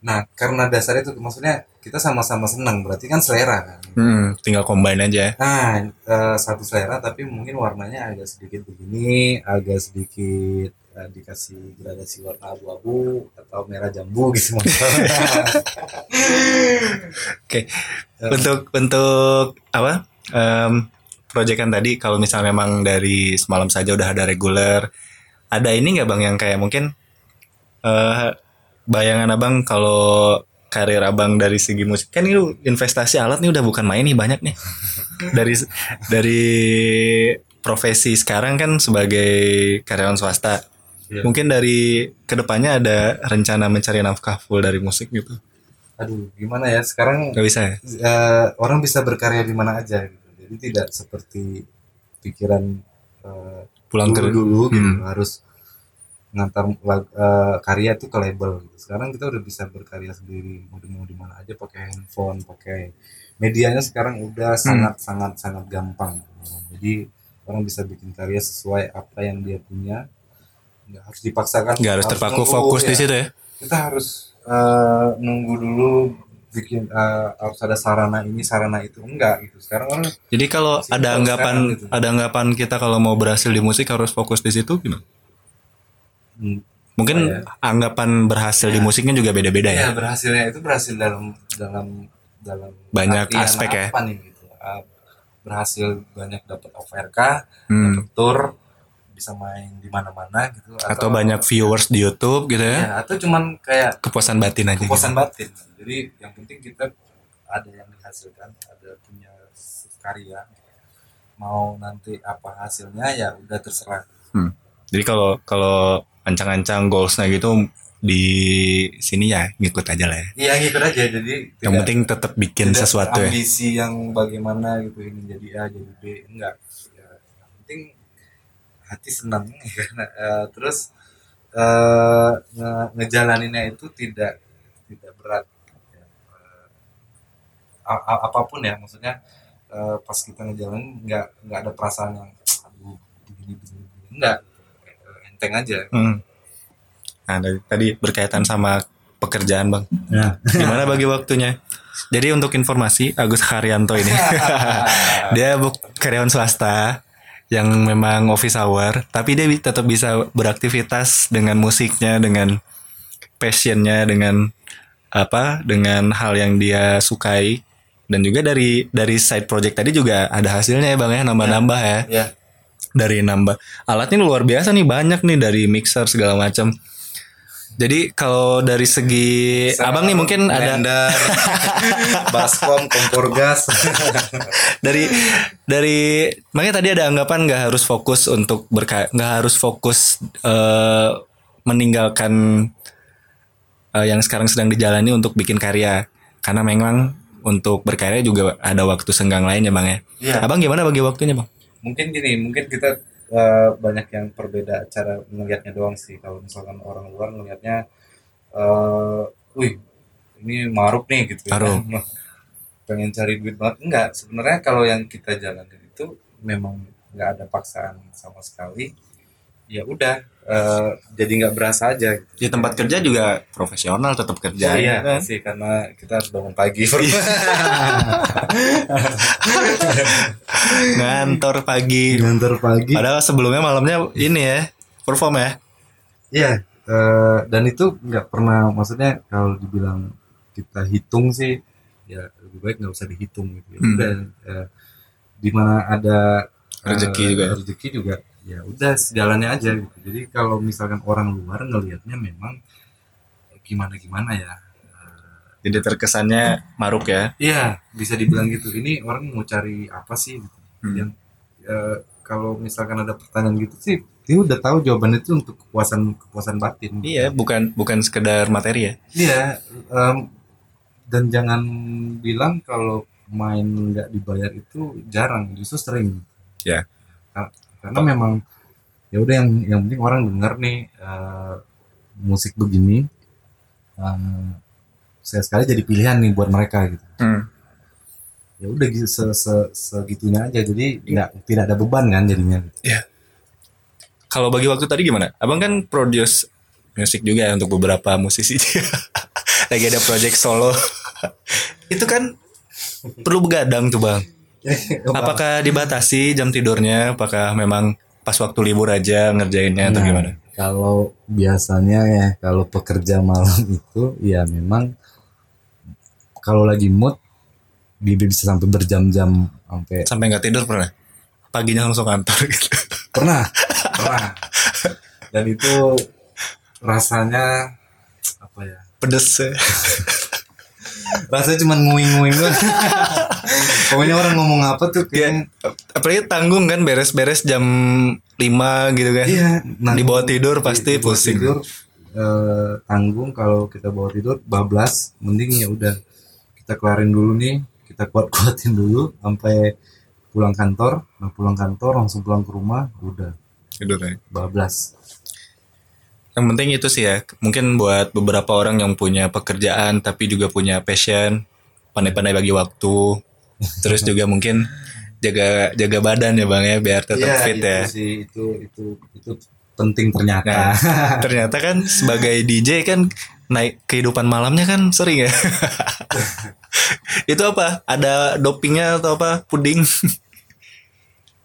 B: nah karena dasarnya itu maksudnya kita sama-sama senang berarti kan selera kan
A: Mm, tinggal combine aja.
B: nah eh, satu selera tapi mungkin warnanya agak sedikit begini agak sedikit eh, dikasih gradasi warna abu-abu atau merah jambu gitu maksudnya.
A: Oke. Untuk untuk apa? Em proyekan tadi kalau misalnya memang dari semalam saja udah ada reguler. Ada ini nggak Bang yang kayak mungkin eh bayangan Abang kalau karir Abang dari segi musik kan itu investasi alat nih udah bukan main nih banyak nih. dari dari profesi sekarang kan sebagai karyawan swasta.
B: Iya.
A: Mungkin dari kedepannya ada rencana mencari nafkah full dari musik gitu.
B: aduh gimana ya sekarang
A: Gak bisa ya?
B: eh, orang bisa berkarya di mana aja gitu. jadi tidak seperti pikiran eh,
A: Pulang
B: dulu
A: ke
B: dulu gitu
A: Hmm.
B: harus ngantar lag- eh, karya tuh ke label gitu. sekarang kita udah bisa berkarya sendiri mau di mau di mana aja pakai handphone pakai medianya sekarang udah
A: Hmm.
B: sangat sangat sangat gampang jadi orang bisa bikin karya sesuai apa yang dia punya nggak harus dipaksakan
A: nggak harus terpaku
B: nunggu,
A: fokus di
B: ya
A: situ ya
B: kita harus eh, nunggu dulu bikin eh, harus ada sarana ini sarana itu enggak gitu sekarang orang
A: jadi kalau
B: Simpel
A: ada anggapan
B: sekarang gitu.
A: ada anggapan kita kalau mau berhasil di musik harus fokus di situ gimana
B: hmm,
A: mungkin
B: Apa ya?
A: anggapan berhasil
B: Iya.
A: di musiknya juga beda-beda ya
B: ya berhasilnya itu berhasil dalam dalam dalam
A: Banyak
B: artian
A: aspek ya.
B: apa nih, gitu. Eh, berhasil banyak dapat OVRK
A: Hmm.
B: dapat tour bisa main di mana-mana gitu
A: atau banyak ya. viewers di YouTube gitu ya,
B: ya, atau cuman kayak
A: kepuasan batin aja
B: kepuasan
A: gitu.
B: batin jadi yang penting kita ada yang dihasilkan ada punya karya mau nanti apa hasilnya ya udah terserah
A: Hmm. jadi kalau kalau ancang-ancang goalsnya gitu di sini ya ngikut aja lah ya
B: iya gitu aja jadi
A: yang penting tetap bikin
B: tidak
A: sesuatu ya
B: ambisi yang bagaimana gitu ini jadi A jadi B enggak ya, yang penting hati senang karena eh, terus eh, nge- ngejalaninnya itu tidak tidak berat Ya, eh, a- a- apapun ya maksudnya eh, pas kita ngejalanin nggak nggak ada perasaan yang aduh begini begini, begini." enggak Eh, enteng aja
A: Hmm. Nah, dari tadi berkaitan sama pekerjaan bang. Gimana bagi waktunya? Jadi untuk informasi Agus Haryanto ini, dia bu- karyawan swasta yang memang office hour, tapi dia bi- tetap bisa beraktivitas dengan musiknya, dengan passionnya, dengan apa, dengan hal yang dia sukai, dan juga dari dari side project tadi juga ada hasilnya ya bang ya, nambah-nambah ya.
B: ya
A: dari nambah alat ini luar biasa nih banyak nih dari mixer segala macam. Jadi kalau dari segi
B: Eh,
A: abang nih mungkin ada
B: blender, baskom, kompor gas.
A: dari dari makanya tadi ada anggapan nggak harus fokus untuk berka nggak harus fokus eh, meninggalkan eh, yang sekarang sedang dijalani untuk bikin karya karena memang untuk berkarya juga ada waktu senggang lain ya bang ya.
B: Iya.
A: Abang gimana bagi waktunya bang?
B: mungkin gini, mungkin kita eh, banyak yang berbeda cara melihatnya doang sih. Kalau misalkan orang luar melihatnya, eh wih ini maruk nih gitu. ya.
A: Maruk.
B: Pengen cari duit banget. Enggak, sebenarnya kalau yang kita jalanin itu memang nggak ada paksaan sama sekali. Ya udah, eh, jadi nggak berasa aja. Gitu.
A: Di tempat kerja juga profesional tetap kerja.
B: iya,
A: ya kan?
B: pasti karena kita harus bangun pagi.
A: Ngantor pagi.
B: Ngantor pagi.
A: Padahal sebelumnya malamnya ini ya perform ya.
B: Iya, eh, dan itu nggak pernah, maksudnya kalau dibilang kita hitung sih, ya lebih baik nggak usah dihitung gitu. Ya
A: Hmm.
B: Udah, eh, di mana ada eh,
A: Rezeki juga.
B: rezeki juga, ya udah sejalannya aja gitu. Jadi kalau misalkan orang luar ngelihatnya memang gimana gimana ya.
A: Jadi terkesannya maruk ya.
B: Iya, bisa dibilang gitu. Ini orang mau cari apa sih? Gitu.
A: Hmm.
B: Yang eh, kalau misalkan ada pertanyaan gitu sih, dia udah tahu jawabannya itu untuk kepuasan kepuasan batin.
A: Iya, bukan bukan sekedar materi ya.
B: Iya, em, dan jangan bilang kalau main nggak dibayar itu jarang, justru sering.
A: Ya.
B: Ka- Karena memang ya udah yang yang penting orang denger nih eh, musik begini, eh, saya sekali jadi pilihan nih buat mereka gitu.
A: Hmm.
B: Ya udah gitu se- se- segitunya aja, jadi nggak tidak ada beban kan jadinya.
A: Kalau bagi waktu tadi gimana? Abang kan produce musik juga ya untuk beberapa musisi. Lagi ada project solo. Itu kan perlu begadang tuh bang. Apakah dibatasi jam tidurnya? Apakah memang pas waktu libur aja ngerjainnya atau
B: Nah,
A: gimana?
B: Kalau biasanya ya kalau pekerja malam itu ya memang kalau lagi mood Bibi bisa sampai berjam-jam sampai
A: Sampai nggak tidur pernah? Paginya langsung kantor gitu.
B: pernah pernah dan itu rasanya apa ya
A: Pedes. ya.
B: rasanya cuman nguing-nguing doang. pokoknya orang ngomong apa tuh
A: Iya.
B: kayak
A: Apalagi tanggung kan beres-beres jam 5 gitu kan.
B: iya nah,
A: Di bawah tidur pasti
B: di bawah
A: pusing.
B: tidur, eh, tanggung kalau kita bawa tidur bablas mending ya udah kita kelarin dulu nih kita kuat kuatin dulu sampai pulang kantor nah pulang kantor langsung pulang ke rumah udah
A: Tidurnya.
B: bablas
A: Yang penting itu sih ya, mungkin buat beberapa orang yang punya pekerjaan tapi juga punya passion, pandai-pandai bagi waktu, terus juga mungkin jaga jaga badan ya bang ya biar tetap
B: Iya,
A: fit
B: itu
A: ya.
B: sih, itu itu itu penting
A: Nah,
B: ternyata
A: ternyata kan sebagai DJ kan naik kehidupan malamnya kan sering ya. itu apa? Ada dopingnya atau apa? Puding?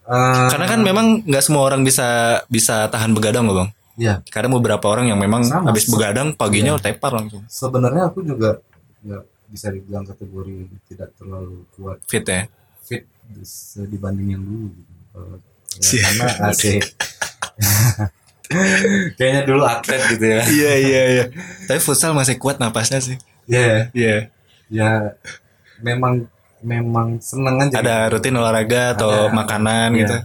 B: Eh,
A: Karena
B: Ah.
A: kan memang nggak semua orang bisa bisa tahan begadang loh bang.
B: ya
A: Kadang beberapa orang yang memang
B: Sama.
A: habis begadang paginya tepar langsung
B: sebenarnya aku juga nggak bisa dibilang kategori tidak terlalu kuat
A: fit ya.
B: fit dis- eh, dibanding yang dulu gitu. Kalau-
A: Cie.
B: ya, karena asik kayaknya dulu atlet gitu ya
A: Iya iya iya. Tapi futsal masih kuat napasnya sih.
B: ya
A: Iya.
B: ya memang memang seneng aja
A: Ada rutin olahraga atau
B: Ada.
A: makanan
B: Iya.
A: gitu.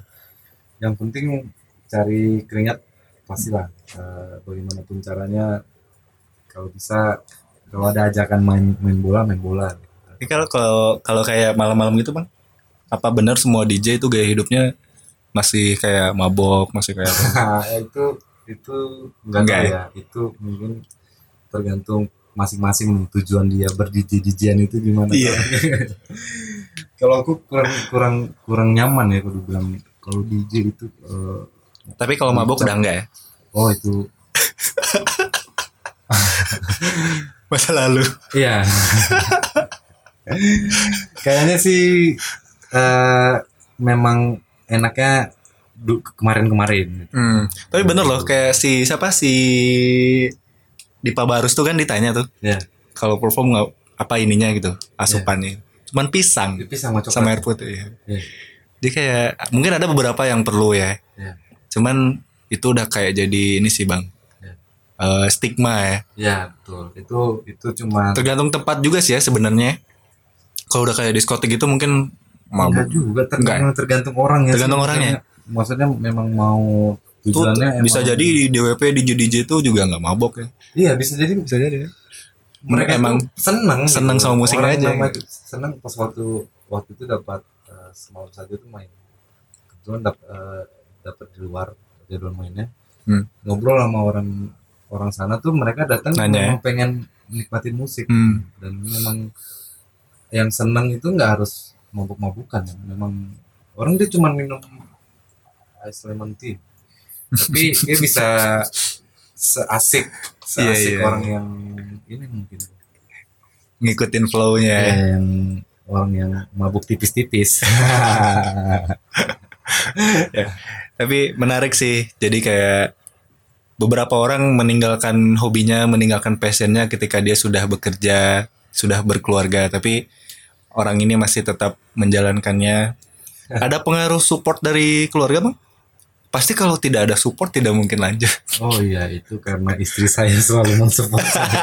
B: yang penting cari keringat pastilah Eh, bagaimanapun caranya kalau bisa kalau ada ajakan main main bola main bola
A: Tapi kalau kalau kalau kayak malam-malam gitu bang, apa benar semua DJ itu gaya hidupnya masih kayak mabok, masih kayak apa?
B: Nah, itu itu enggak
A: Enggak
B: tahu ya. Itu mungkin tergantung masing-masing nih tujuan dia berdiji-jijian itu gimana.
A: Iya.
B: kalau aku kurang kurang kurang nyaman ya kalau bilang kalau DJ itu eh,
A: Tapi kalau mabok udah enggak ya?
B: oh itu
A: Masa lalu.
B: iya. Kayaknya sih eh, memang enaknya du- kemarin-kemarin.
A: Hmm. Tapi bener loh kayak si siapa si Dipa Barus tuh kan ditanya tuh
B: Ya,
A: kalau perform nggak apa ininya gitu asupannya. Cuman pisang
B: tapi sama coklat.
A: sama air putih. iya.
B: Iya.
A: Jadi kayak mungkin ada beberapa yang perlu ya
B: Iya.
A: Cuman itu udah kayak jadi ini sih bang,
B: Iya.
A: Eh, stigma ya.
B: Ya betul. Itu itu cuma
A: Tergantung tempat juga sih ya sebenarnya. Kalau udah kayak diskotik gitu mungkin
B: enggak
A: mabuk.
B: juga tergantung tergantung orang ya. sih.
A: Tergantung orang ya.
B: Maksudnya maksudnya memang mau
A: Itu
B: tujuannya
A: bisa
B: emang-
A: jadi di DWP di DJ itu juga nggak mabok ya.
B: Iya, bisa jadi bisa jadi. Mereka
A: Emang
B: emang seneng gitu.
A: seneng sama musik
B: Orang
A: aja.
B: memang Seneng pas waktu waktu itu dapat eh, semalam saja itu main. Kebetulan dap- eh, dapat di luar jadwal mainnya.
A: Hmm.
B: Ngobrol sama orang orang sana tuh mereka datang
A: Nanya ya?
B: memang pengen nikmatin musik
A: Hmm.
B: dan memang yang seneng itu nggak harus mabuk-mabukan ya. memang orang dia cuma minum ice lemon tea tapi dia bisa seasik seasik
A: Iya, iya.
B: orang yang ini mungkin
A: Ngikutin flow-nya. ya.
B: yang orang yang mabuk tipis-tipis
A: Tapi menarik sih. Jadi kayak beberapa orang meninggalkan hobinya, meninggalkan passionnya ketika dia sudah bekerja, sudah berkeluarga. Tapi orang ini masih tetap menjalankannya. Ada pengaruh support dari keluarga bang? Pasti kalau tidak ada support tidak mungkin lanjut.
B: oh iya itu karena istri saya selalu mensupport saya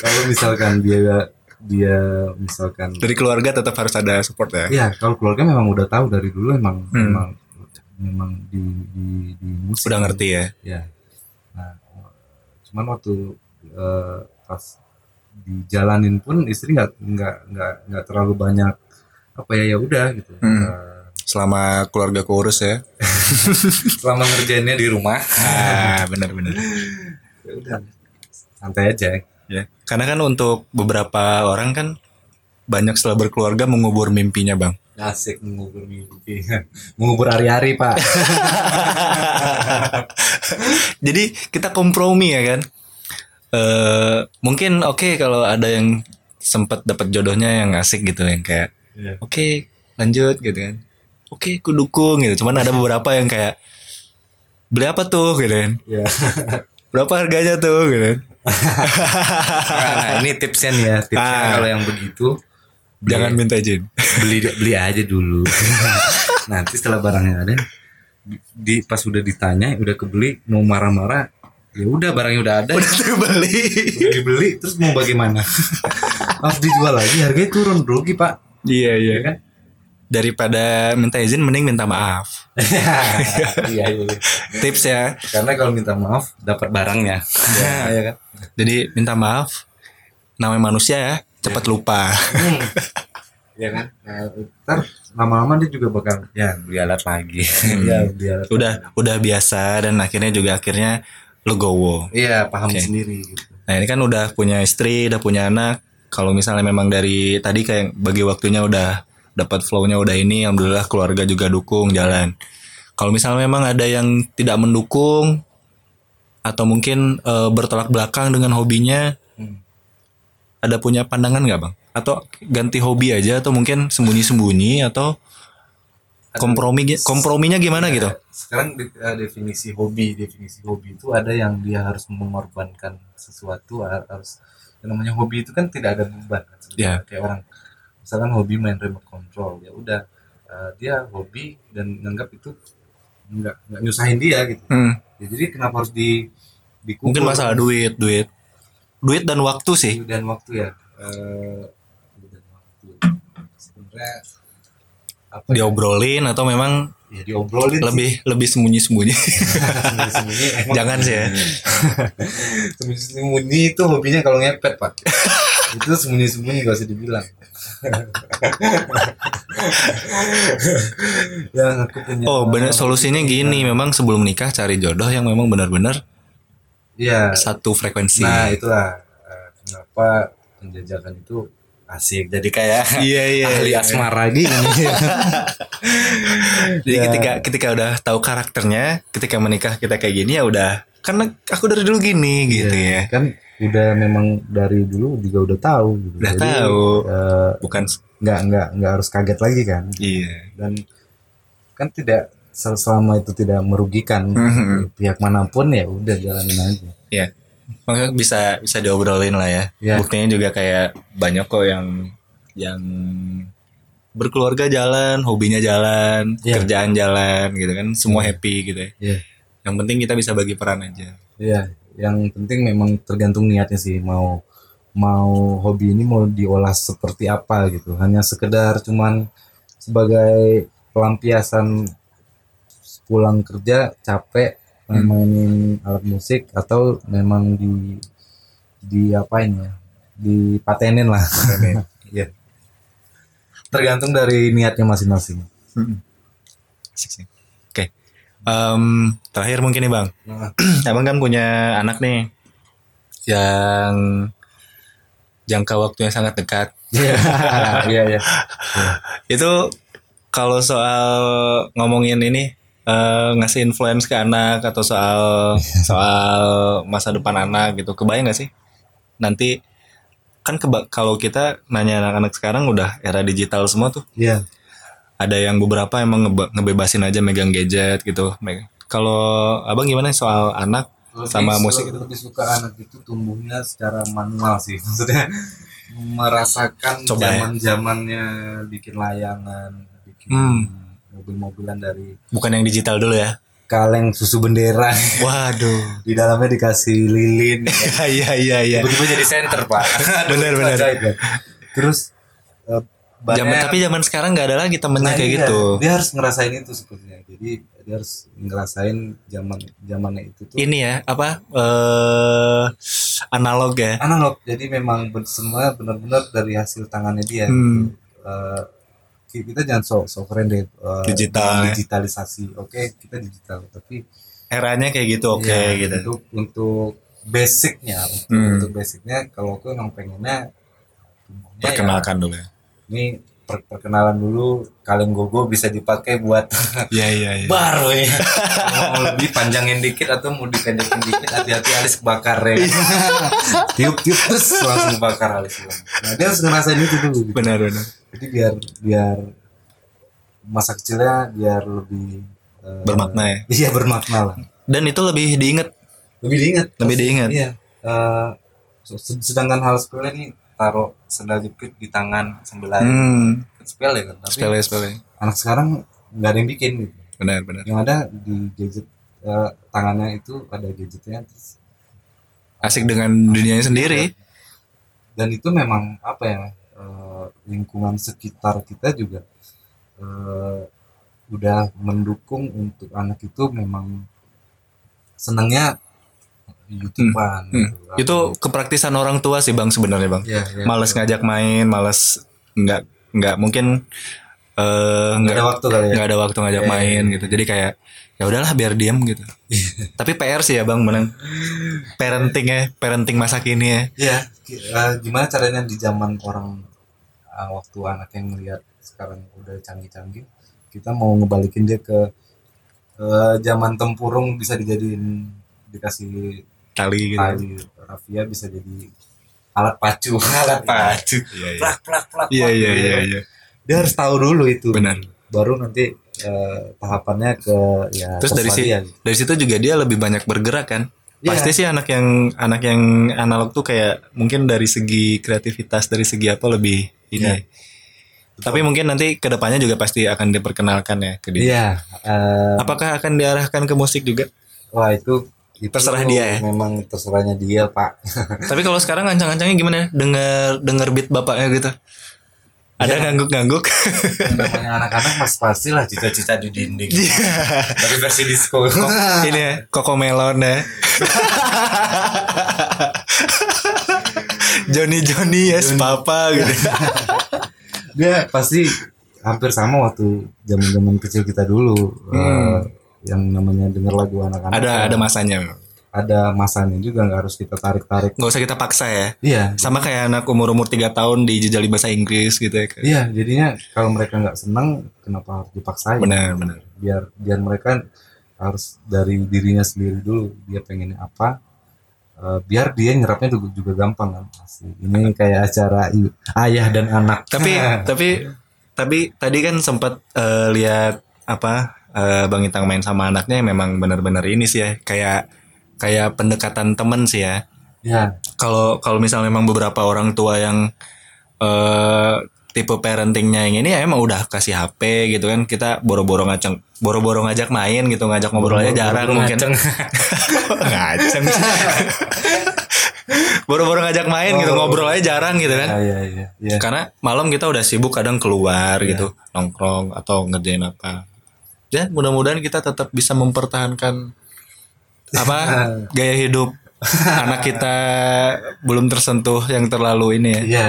B: kalau misalkan dia dia misalkan
A: Dari keluarga tetap harus ada support ya.
B: Iya, kalau keluarga memang udah tahu dari dulu emang
A: Hmm.
B: memang memang di di di musik.
A: Sudah ngerti ya.
B: Ya. Nah, cuman waktu eh, pas dijalanin pun istri nggak nggak nggak nggak terlalu banyak apa ya ya udah gitu.
A: Hmm.
B: Eh,
A: Selama keluarga kurus ya.
B: selama ngerjainnya di rumah,
A: Ah, benar-benar.
B: ya udah santai aja.
A: Ya, karena kan untuk beberapa orang kan banyak setelah berkeluarga mengubur mimpinya, Bang.
B: Asik mengubur mimpi, mengubur hari-hari pak.
A: Jadi kita kompromi ya kan. Eh mungkin oke kalau ada yang sempat dapat jodohnya yang asik gitu yang kayak
B: Iya.
A: oke lanjut gitu kan. Oke, ku dukung gitu. Cuman ada beberapa yang kayak beli apa tuh gitu kan.
B: Iya.
A: Berapa harganya tuh gitu kan.
B: nah, ini tipsnya nih ya, tipsnya
A: Ah.
B: kalau yang begitu
A: Jangan minta izin.
B: beli beli aja dulu nanti setelah barangnya ada di pas udah ditanya udah kebeli mau marah-marah ya udah barangnya udah ada udah
A: Beli.
B: dibeli terus mau bagaimana harus dijual lagi harganya turun rugi pak
A: Iya, iya.
B: Iya kan?
A: Daripada minta izin mending minta maaf.
B: iya iya
A: Tips ya.
B: karena kalau minta maaf dapat barangnya ya kan
A: Jadi minta maaf. Namanya manusia ya, cepat lupa.
B: ya kan nah, ntar lama-lama dia juga bakal ya dialat lagi ya dialat
A: udah udah biasa dan akhirnya juga akhirnya legowo.
B: iya paham
A: Oke.
B: sendiri gitu
A: Nah ini kan udah punya istri, udah punya anak. Kalau misalnya memang dari tadi kayak bagi waktunya udah dapat flow-nya udah ini, alhamdulillah keluarga juga dukung jalan. Kalau misalnya memang ada yang tidak mendukung atau mungkin eh, bertolak belakang dengan hobinya, ada punya pandangan nggak bang? Atau ganti hobi aja atau mungkin sembunyi-sembunyi atau kompromi komprominya gimana gitu?
B: sekarang de- eh, definisi hobi definisi hobi itu ada yang dia harus mengorbankan sesuatu har- harus yang namanya hobi itu kan tidak ada beban kan
A: Iya.
B: sebenarnya. kayak orang misalkan hobi main remote control ya udah eh, dia hobi dan nganggap itu nggak nggak nyusahin dia gitu
A: Hmm.
B: Ya, jadi kenapa harus di dikubur?
A: Mungkin masalah duit, duit. Duit dan waktu sih.
B: Waktu dan waktu ya Eh, waktu dan waktu sebenarnya apa ya?
A: Diobrolin atau memang
B: ya diobrolin sih.
A: lebih lebih sembunyi-sembunyi.
B: Sembunyi-sembunyi emang-
A: Jangan sih ya.
B: sembunyi-sembunyi itu hobinya kalau ngepet pak itu sembunyi-sembunyi gak usah dibilang yang Ya, aku punya
A: Oh, benar solusinya gini, memang sebelum nikah cari jodoh yang memang benar-benar
B: Iya.
A: satu frekuensi.
B: nah itulah eh, kenapa penjajakan itu asik jadi kayak
A: iya iya.
B: ahli asmara gini
A: kan ya. Jadi
B: Iya.
A: ketika ketika udah tahu karakternya, ketika menikah kita kayak gini ya udah karena aku dari dulu gini gitu ya.
B: kan udah memang dari dulu juga udah tahu gitu.
A: Udah
B: Jadi,
A: tahu.
B: eh,
A: Bukan
B: nggak nggak nggak harus kaget lagi kan
A: iya.
B: dan kan tidak sel- selama itu tidak merugikan
A: Mhm.
B: pihak manapun ya udah jalanin aja
A: Iya. Makanya bisa bisa diobrolin lah ya.
B: Iya.
A: Buktinya juga kayak banyak kok yang yang berkeluarga jalan, hobinya jalan,
B: Iya.
A: kerjaan jalan gitu kan, semua happy gitu ya.
B: Iya.
A: Yang penting kita bisa bagi peran aja.
B: Iya, yang penting memang tergantung niatnya sih mau mau hobi ini mau diolah seperti apa gitu. Hanya sekedar cuman sebagai pelampiasan pulang kerja capek main- mainin alat musik atau memang di di apain ya? Dipatenin lah. Iya. Tergantung dari niatnya masing-masing.
A: Asik sih. Oke. Em, terakhir mungkin nih Bang.
B: Nah,
A: Abang kan punya anak nih yang jangka waktunya sangat dekat.
B: Iya, iya, iya.
A: Itu kalau soal ngomongin ini eh, ngasih influence ke anak atau soal soal masa depan anak gitu, kebayang gak sih? Nanti kan keba- kalau kita nanya anak-anak sekarang udah era digital semua tuh
B: Iya.
A: ada yang beberapa emang ngebe- ngebebasin aja megang gadget gitu. Me- Kalau abang gimana soal anak? Sama
B: su-
A: musik gitu.
B: lebih suka anak itu tumbuhnya secara manual sih maksudnya merasakan
A: Coba ya.
B: zaman zamannya bikin layangan bikin
A: Hmm.
B: mobil-mobilan dari
A: Bukan yang digital dulu ya?
B: kaleng susu bendera
A: Waduh.
B: di dalamnya dikasih lilin
A: Iya iya iya.
B: tiba-tiba jadi center pak
A: Bener,
B: Itu
A: bener.
B: ajaib, ya. terus eh,
A: Zaman,
B: banyak-
A: tapi zaman sekarang nggak ada lagi temennya
B: Nah,
A: kayak
B: iya.
A: gitu.
B: dia harus ngerasain itu sebetulnya jadi dia harus ngerasain zaman zamannya itu tuh
A: Ini ya apa eh analog ya?
B: analog jadi memang ben- semua benar-benar dari hasil tangannya dia
A: Hmm.
B: Eh, ki- kita jangan sok sok keren deh eh,
A: Digital, ya.
B: digitalisasi oke kita digital tapi
A: Eranya kayak gitu oke
B: ya,
A: gitu.
B: untuk untuk basicnya untuk,
A: Hmm.
B: untuk basicnya kalau aku emang pengennya tumbuhnya
A: Perkenalkan dulu ya.
B: ya, ini per- perkenalan dulu kaleng gogo bisa dipakai buat
A: Iya iya iya.
B: baru ya Kalau mau lebih panjangin dikit atau mau dipendekin dikit hati-hati alis kebakar ya
A: Iya.
B: tiup tiup terus langsung bakar alis nah, dia harus ngerasain itu dulu gitu.
A: Benar benar.
B: jadi biar biar masa kecilnya biar lebih eh,
A: Bermakna ya.
B: iya bermakna lah
A: Dan itu lebih diinget.
B: lebih diingat
A: Lebih diingat.
B: iya Eh, se- sedangkan hal sepele ini taruh sendal jepit di tangan sembelai
A: Hmm.
B: sepele kan tapi
A: Sepele sepele.
B: anak sekarang nggak ada yang bikin gitu
A: Benar benar.
B: yang ada di gadget eh, tangannya itu ada gadgetnya terus
A: Asik dengan dunianya sendiri.
B: dan itu memang apa ya eh, lingkungan sekitar kita juga eh, udah mendukung untuk anak itu memang senangnya gitu youtuber
A: Hmm. Itu kepraktisan orang tua sih bang sebenarnya bang.
B: ya, ya.
A: Males ngajak main, males nggak nggak mungkin eh
B: nggak
A: nggak
B: ada waktu kali ya
A: nggak ada waktu ngajak
B: Iya,
A: main gitu jadi kayak ya udahlah biar diam gitu tapi PR sih ya bang menang parenting ya parenting masa kini ya
B: Iya, ki- eh, gimana caranya di zaman orang eh, waktu anak yang melihat sekarang udah canggih-canggih, kita mau ngebalikin dia ke eh, zaman tempurung bisa dijadiin dikasih
A: tali gitu
B: tali rafia bisa jadi alat pacu, alat pacu.
A: Iya, iya.
B: Plak plak plak.
A: iya
B: plak.
A: iya iya iya
B: Dia harus tahu dulu itu.
A: benar
B: Baru nanti eh, tahapannya ke ya
A: terus dari si-
B: sini
A: dari situ juga dia lebih banyak bergerak kan
B: Iya.
A: pasti sih anak yang anak yang analog tuh kayak mungkin dari segi kreativitas dari segi apa lebih ini
B: Iya.
A: ya. tapi mungkin nanti kedepannya juga pasti akan diperkenalkan ya ke dia
B: Iya, eh,
A: apakah akan diarahkan ke musik juga
B: wah itu itu
A: Terserah dia ya?
B: Memang terserahnya dia, Pak.
A: Tapi kalau sekarang ancang-ancangnya gimana? ya? Dengar dengar beat bapaknya gitu. Ada
B: Iya.
A: ngangguk-ngangguk.
B: Yang namanya anak-anak mas pastilah cita-cita di dinding tapi versi disco
A: Ini ya, Coco Melon ya. Johnny Johnny yes papa gitu.
B: dia pasti hampir sama waktu zaman zaman kecil kita dulu Eh, yang namanya denger lagu anak-anak
A: ada ada masanya.
B: ada masanya juga nggak harus kita tarik-tarik
A: Gak usah kita paksa ya.
B: iya
A: Sama kayak anak umur-umur 3 tahun dijejali bahasa Inggris gitu ya.
B: iya jadinya kalau mereka nggak senang kenapa harus dipaksain
A: Benar, benar.
B: biar biar mereka harus dari dirinya sendiri dulu dia pengennya apa Eh, biar dia nyerapnya juga, juga gampang kan Pasti. ini kayak acara i- ayah dan anak
A: Tapi tapi tapi tadi kan sempat eh, lihat apa eh, Bang Itang main sama anaknya memang benar-benar ini sih ya. Kayak kayak pendekatan temen sih ya.
B: ya
A: kalau kalau misalnya memang beberapa orang tua yang eh tipe parentingnya yang ini ya emang udah kasih HP gitu kan kita boro-boro ngajak boro-boro ngajak main gitu ngajak ngobrol aja jarang
B: Buru-buru
A: mungkin
B: ngaceng.
A: ngaceng boro-boro ngajak main gitu ngobrol aja jarang gitu kan
B: Iya, iya, iya. Iya.
A: karena malam kita udah sibuk kadang keluar gitu nongkrong atau ngerjain apa ya mudah-mudahan kita tetap bisa mempertahankan apa
B: Iya.
A: gaya hidup anak kita belum tersentuh yang terlalu ini ya
B: Iya,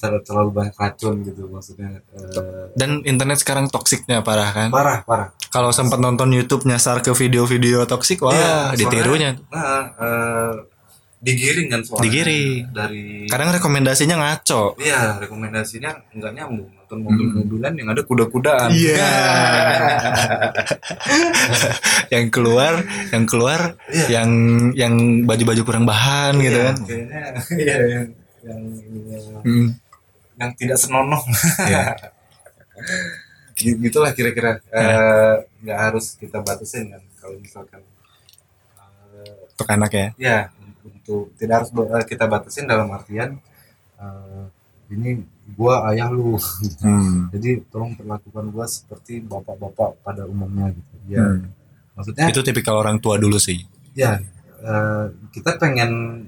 B: terlalu, terlalu banyak racun gitu maksudnya. eh,
A: dan internet sekarang toksiknya parah kan
B: parah, parah.
A: kalau sempat nonton YouTube nyasar ke video-video toksik wah
B: Iya,
A: Oh, ditirunya
B: soalnya, Nah, eh, digiring kan soalnya.
A: Digiring. Kan
B: Dari
A: kadang rekomendasinya ngaco
B: Iya, rekomendasinya nggak nyambung. Nonton
A: Hmm.
B: mobil-mobilan yang ada kuda-kudaan.
A: Iya.
B: Nah,
A: yang keluar yang keluar
B: Iya.
A: yang yang baju-baju kurang bahan gitu
B: Iya,
A: kan
B: Kayaknya iya yang yang yang-
A: Hmm.
B: yang tidak senonoh.
A: Iya.
B: Gitu- Gitulah kira-kira Eh, nggak harus kita batasin kan kalau misalkan eh,
A: untuk anak ya
B: ya untuk tidak harus ba- eh, kita batasin dalam artian eh, ini gua ayah lu
A: Hmm.
B: jadi tolong perlakukan gua seperti bapak-bapak pada umumnya gitu ya
A: Hmm.
B: maksudnya
A: itu tipikal orang tua dulu sih
B: ya eh, kita pengen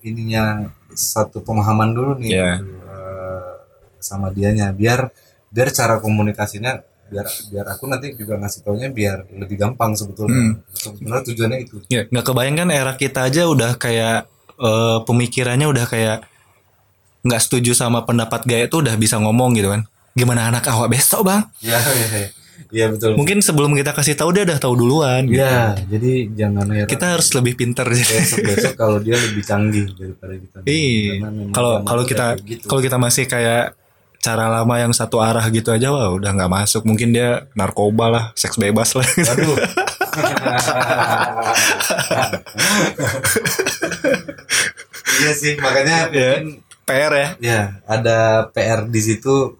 B: ininya satu pemahaman dulu nih
A: Iya.
B: gitu, eh, sama dianya biar biar cara komunikasinya biar biar aku nanti juga ngasih taunya biar lebih
A: Hmm.
B: gampang sebetulnya sebenarnya tujuannya itu
A: ya nggak kebayang kan era kita aja udah kayak eh, pemikirannya udah kayak nggak setuju sama pendapat gaya itu udah bisa ngomong gitu kan gimana anak awak besok bang
B: ya ya ya. Iya, betul
A: mungkin sebelum kita kasih tahu dia udah tahu duluan gitu.
B: ya jadi jangan heran
A: kita harus lebih pinter jadi
B: besok besok kalau dia lebih canggih daripada kita
A: Iya.
B: Karena memang
A: kalau
B: zaman
A: kalau
B: udah
A: kita
B: kayak gitu.
A: kalau kita masih kayak cara lama yang satu arah gitu aja wah udah nggak masuk mungkin dia narkoba lah seks bebas lah gitu.
B: aduh iya sih makanya
A: Iya.
B: mungkin
A: PR ya
B: Ya, ada PR di situ.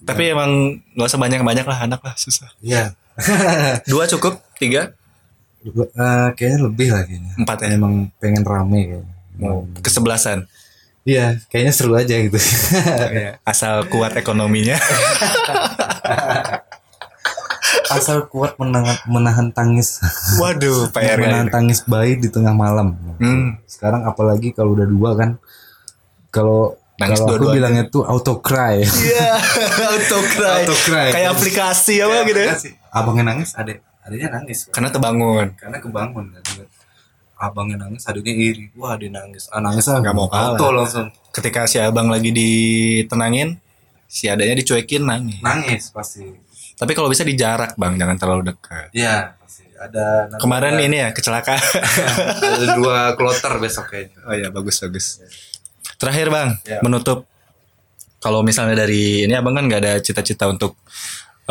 A: tapi emang nggak usah banyak banyak lah anak lah susah
B: Ya,
A: dua cukup tiga
B: Eh, kayaknya lebih lah kayaknya.
A: empat ya
B: Emang pengen rame kayaknya.
A: Oh.
B: Mau-
A: kesebelasan
B: Iya, kayaknya seru aja gitu.
A: Iya, asal kuat ekonominya
B: Asal kuat menahan, menahan tangis,
A: waduh PR
B: menahan
A: ya
B: tangis bayi di tengah malam.
A: Hmm.
B: Sekarang apalagi kalau udah dua kan, kalau
A: Nangis
B: kalau aku
A: dua-duanya.
B: bilangnya tuh auto cry.
A: Iya, auto cry.
B: Auto cry.
A: Kayak aplikasi apa gitu. ya.
B: Iya Abangnya nangis, adek, adeknya nangis.
A: Karena terbangun.
B: karena kebangun kan Lihat abangnya nangis adiknya iri wah dia nangis ah nangis ah
A: Nggak mau kalah.
B: auto langsung
A: Ketika si abang lagi ditenangin, si adanya dicuekin nangis.
B: nangis pasti
A: Tapi kalau bisa di jarak bang, jangan terlalu dekat.
B: ya pasti ada
A: Kemarin ini ya kecelakaan.
B: ada dua kloter besok kayaknya
A: oh ya bagus bagus. Iya. Terakhir bang,
B: Ya.
A: menutup. Kalau misalnya dari ini abang kan nggak ada cita-cita untuk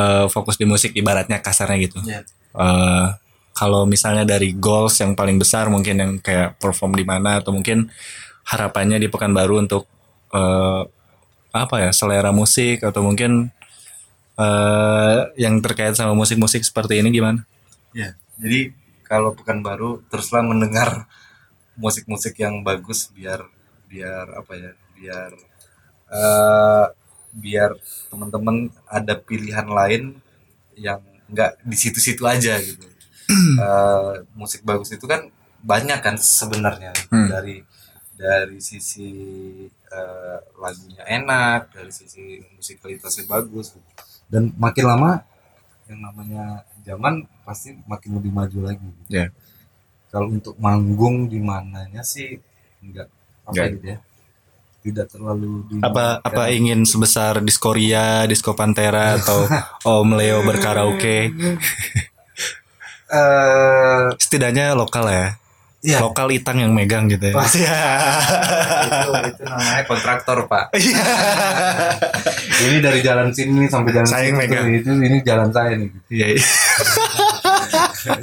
A: eh, fokus di musik, ibaratnya kasarnya gitu.
B: ya
A: eh kalau misalnya dari goals yang paling besar mungkin yang kayak perform di mana atau mungkin harapannya di Pekanbaru untuk eh, apa ya selera musik atau mungkin eh, yang terkait sama musik-musik seperti ini gimana?
B: ya jadi kalau pekanbaru teruslah mendengar musik-musik yang bagus biar biar apa ya biar eh biar teman-teman ada pilihan lain yang nggak di situ-situ aja gitu. Eh, musik bagus itu kan banyak kan sebenarnya
A: Hmm.
B: dari dari sisi eh, lagunya enak, dari sisi musikalitasnya bagus. gitu. Dan makin lama yang namanya zaman pasti makin lebih maju lagi. gitu.
A: Ya.
B: Kalau untuk manggung di mananya sih enggak apa
A: Nggak.
B: gitu ya. Tidak terlalu di
A: Apa apa ingin sebesar Diskoria, Disko Pantera atau Om Leo berkaraoke?
B: eh
A: Setidaknya lokal ya.
B: iya
A: Lokal Itang yang megang gitu ya.
B: itu itu namanya kontraktor pak
A: Iya.
B: ini dari jalan sini sampai jalan
A: Saya yang
B: sini
A: megang.
B: tuh, itu ini jalan saya nih
A: Iya, iya.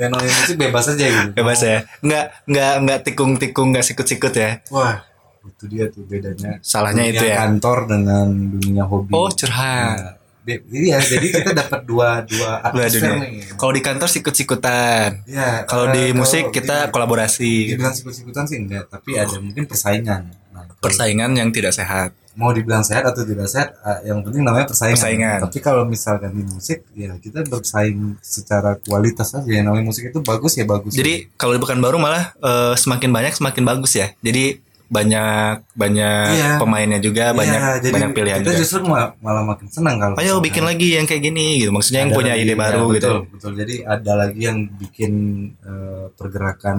B: yang namanya musik bebas aja gitu
A: bebas ya nggak nggak nggak tikung tikung nggak sikut sikut ya
B: wah itu dia tuh bedanya
A: Salahnya
B: dunia
A: itu ya.
B: kantor dengan dunia hobi
A: oh curhat
B: Nah, be- iya jadi kita dapat dua
A: Dua
B: dua atmosfer
A: dunia.
B: nih
A: kalau di kantor sikut sikutan
B: ya
A: kalau
B: eh,
A: di musik kita
B: di- Iya.
A: kolaborasi gitu. Oh.
B: dibilang sikut-sikutan sih enggak tapi ada mungkin persaingan nah, kalau-
A: persaingan yang tidak sehat
B: mau dibilang sehat atau tidak sehat eh, yang penting namanya persaingan.
A: Persaingan.
B: tapi kalau misalkan di musik ya kita bersaing secara kualitas aja yang namanya musik itu bagus ya bagus
A: Jadi kalau di Pekanbaru malah eh, semakin banyak semakin bagus ya. Jadi banyak banyak
B: Iya.
A: pemainnya juga,
B: Iya,
A: ya, banyak
B: jadi
A: banyak pilihan
B: kita
A: juga.
B: justru mal- malah makin senang kalau
A: Ayo
B: misalkan
A: bikin lagi yang kayak gini gitu. Maksudnya yang
B: ada
A: punya
B: lagi,
A: ide
B: ya,
A: baru gitu.
B: betul, betul jadi ada lagi yang bikin eh, pergerakan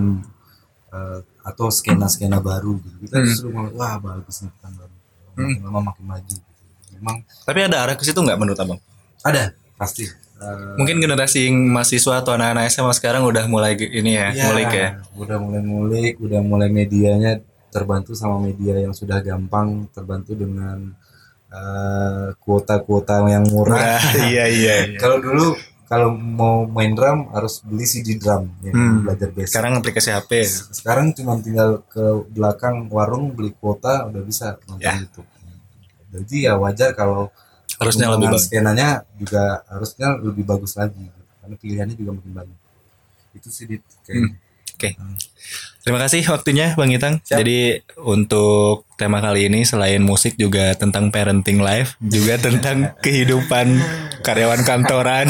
B: eh, atau skena skena baru gitu. kita
A: Hmm.
B: justru malah wah bagus nih kan baru makin lama makin maju gitu. memang
A: Tapi ada arah ke situ nggak menurut abang?
B: ada pasti Eh,
A: Mungkin generasi yang mahasiswa atau anak-anak SMA sekarang udah mulai ge- ini ya,
B: Ya,
A: mulai kayak
B: Udah mulai ngulik, udah mulai medianya terbantu sama media yang sudah gampang, terbantu dengan eh, kuota-kuota yang murah.
A: iya iya. iya.
B: Kalau dulu kalau mau main drum harus beli CD drum, ya,
A: Hmm.
B: belajar basic.
A: Sekarang aplikasi HP.
B: Sekarang cuma tinggal ke belakang warung beli kuota udah bisa nonton
A: Ya.
B: YouTube. Jadi ya wajar kalau
A: Harusnya lebih
B: perkembangan
A: bagus.
B: skenanya juga harusnya lebih bagus lagi karena pilihannya juga makin banyak. Itu sih Dit,
A: Hmm.
B: kayaknya.
A: Oke. Terima kasih waktunya Bang Itang. Jadi untuk tema kali ini selain musik juga tentang parenting life, juga tentang kehidupan karyawan kantoran.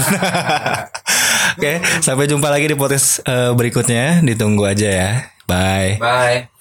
A: Oke, sampai jumpa lagi di podcast eh, berikutnya. Ditunggu aja ya. Bye.
C: Bye.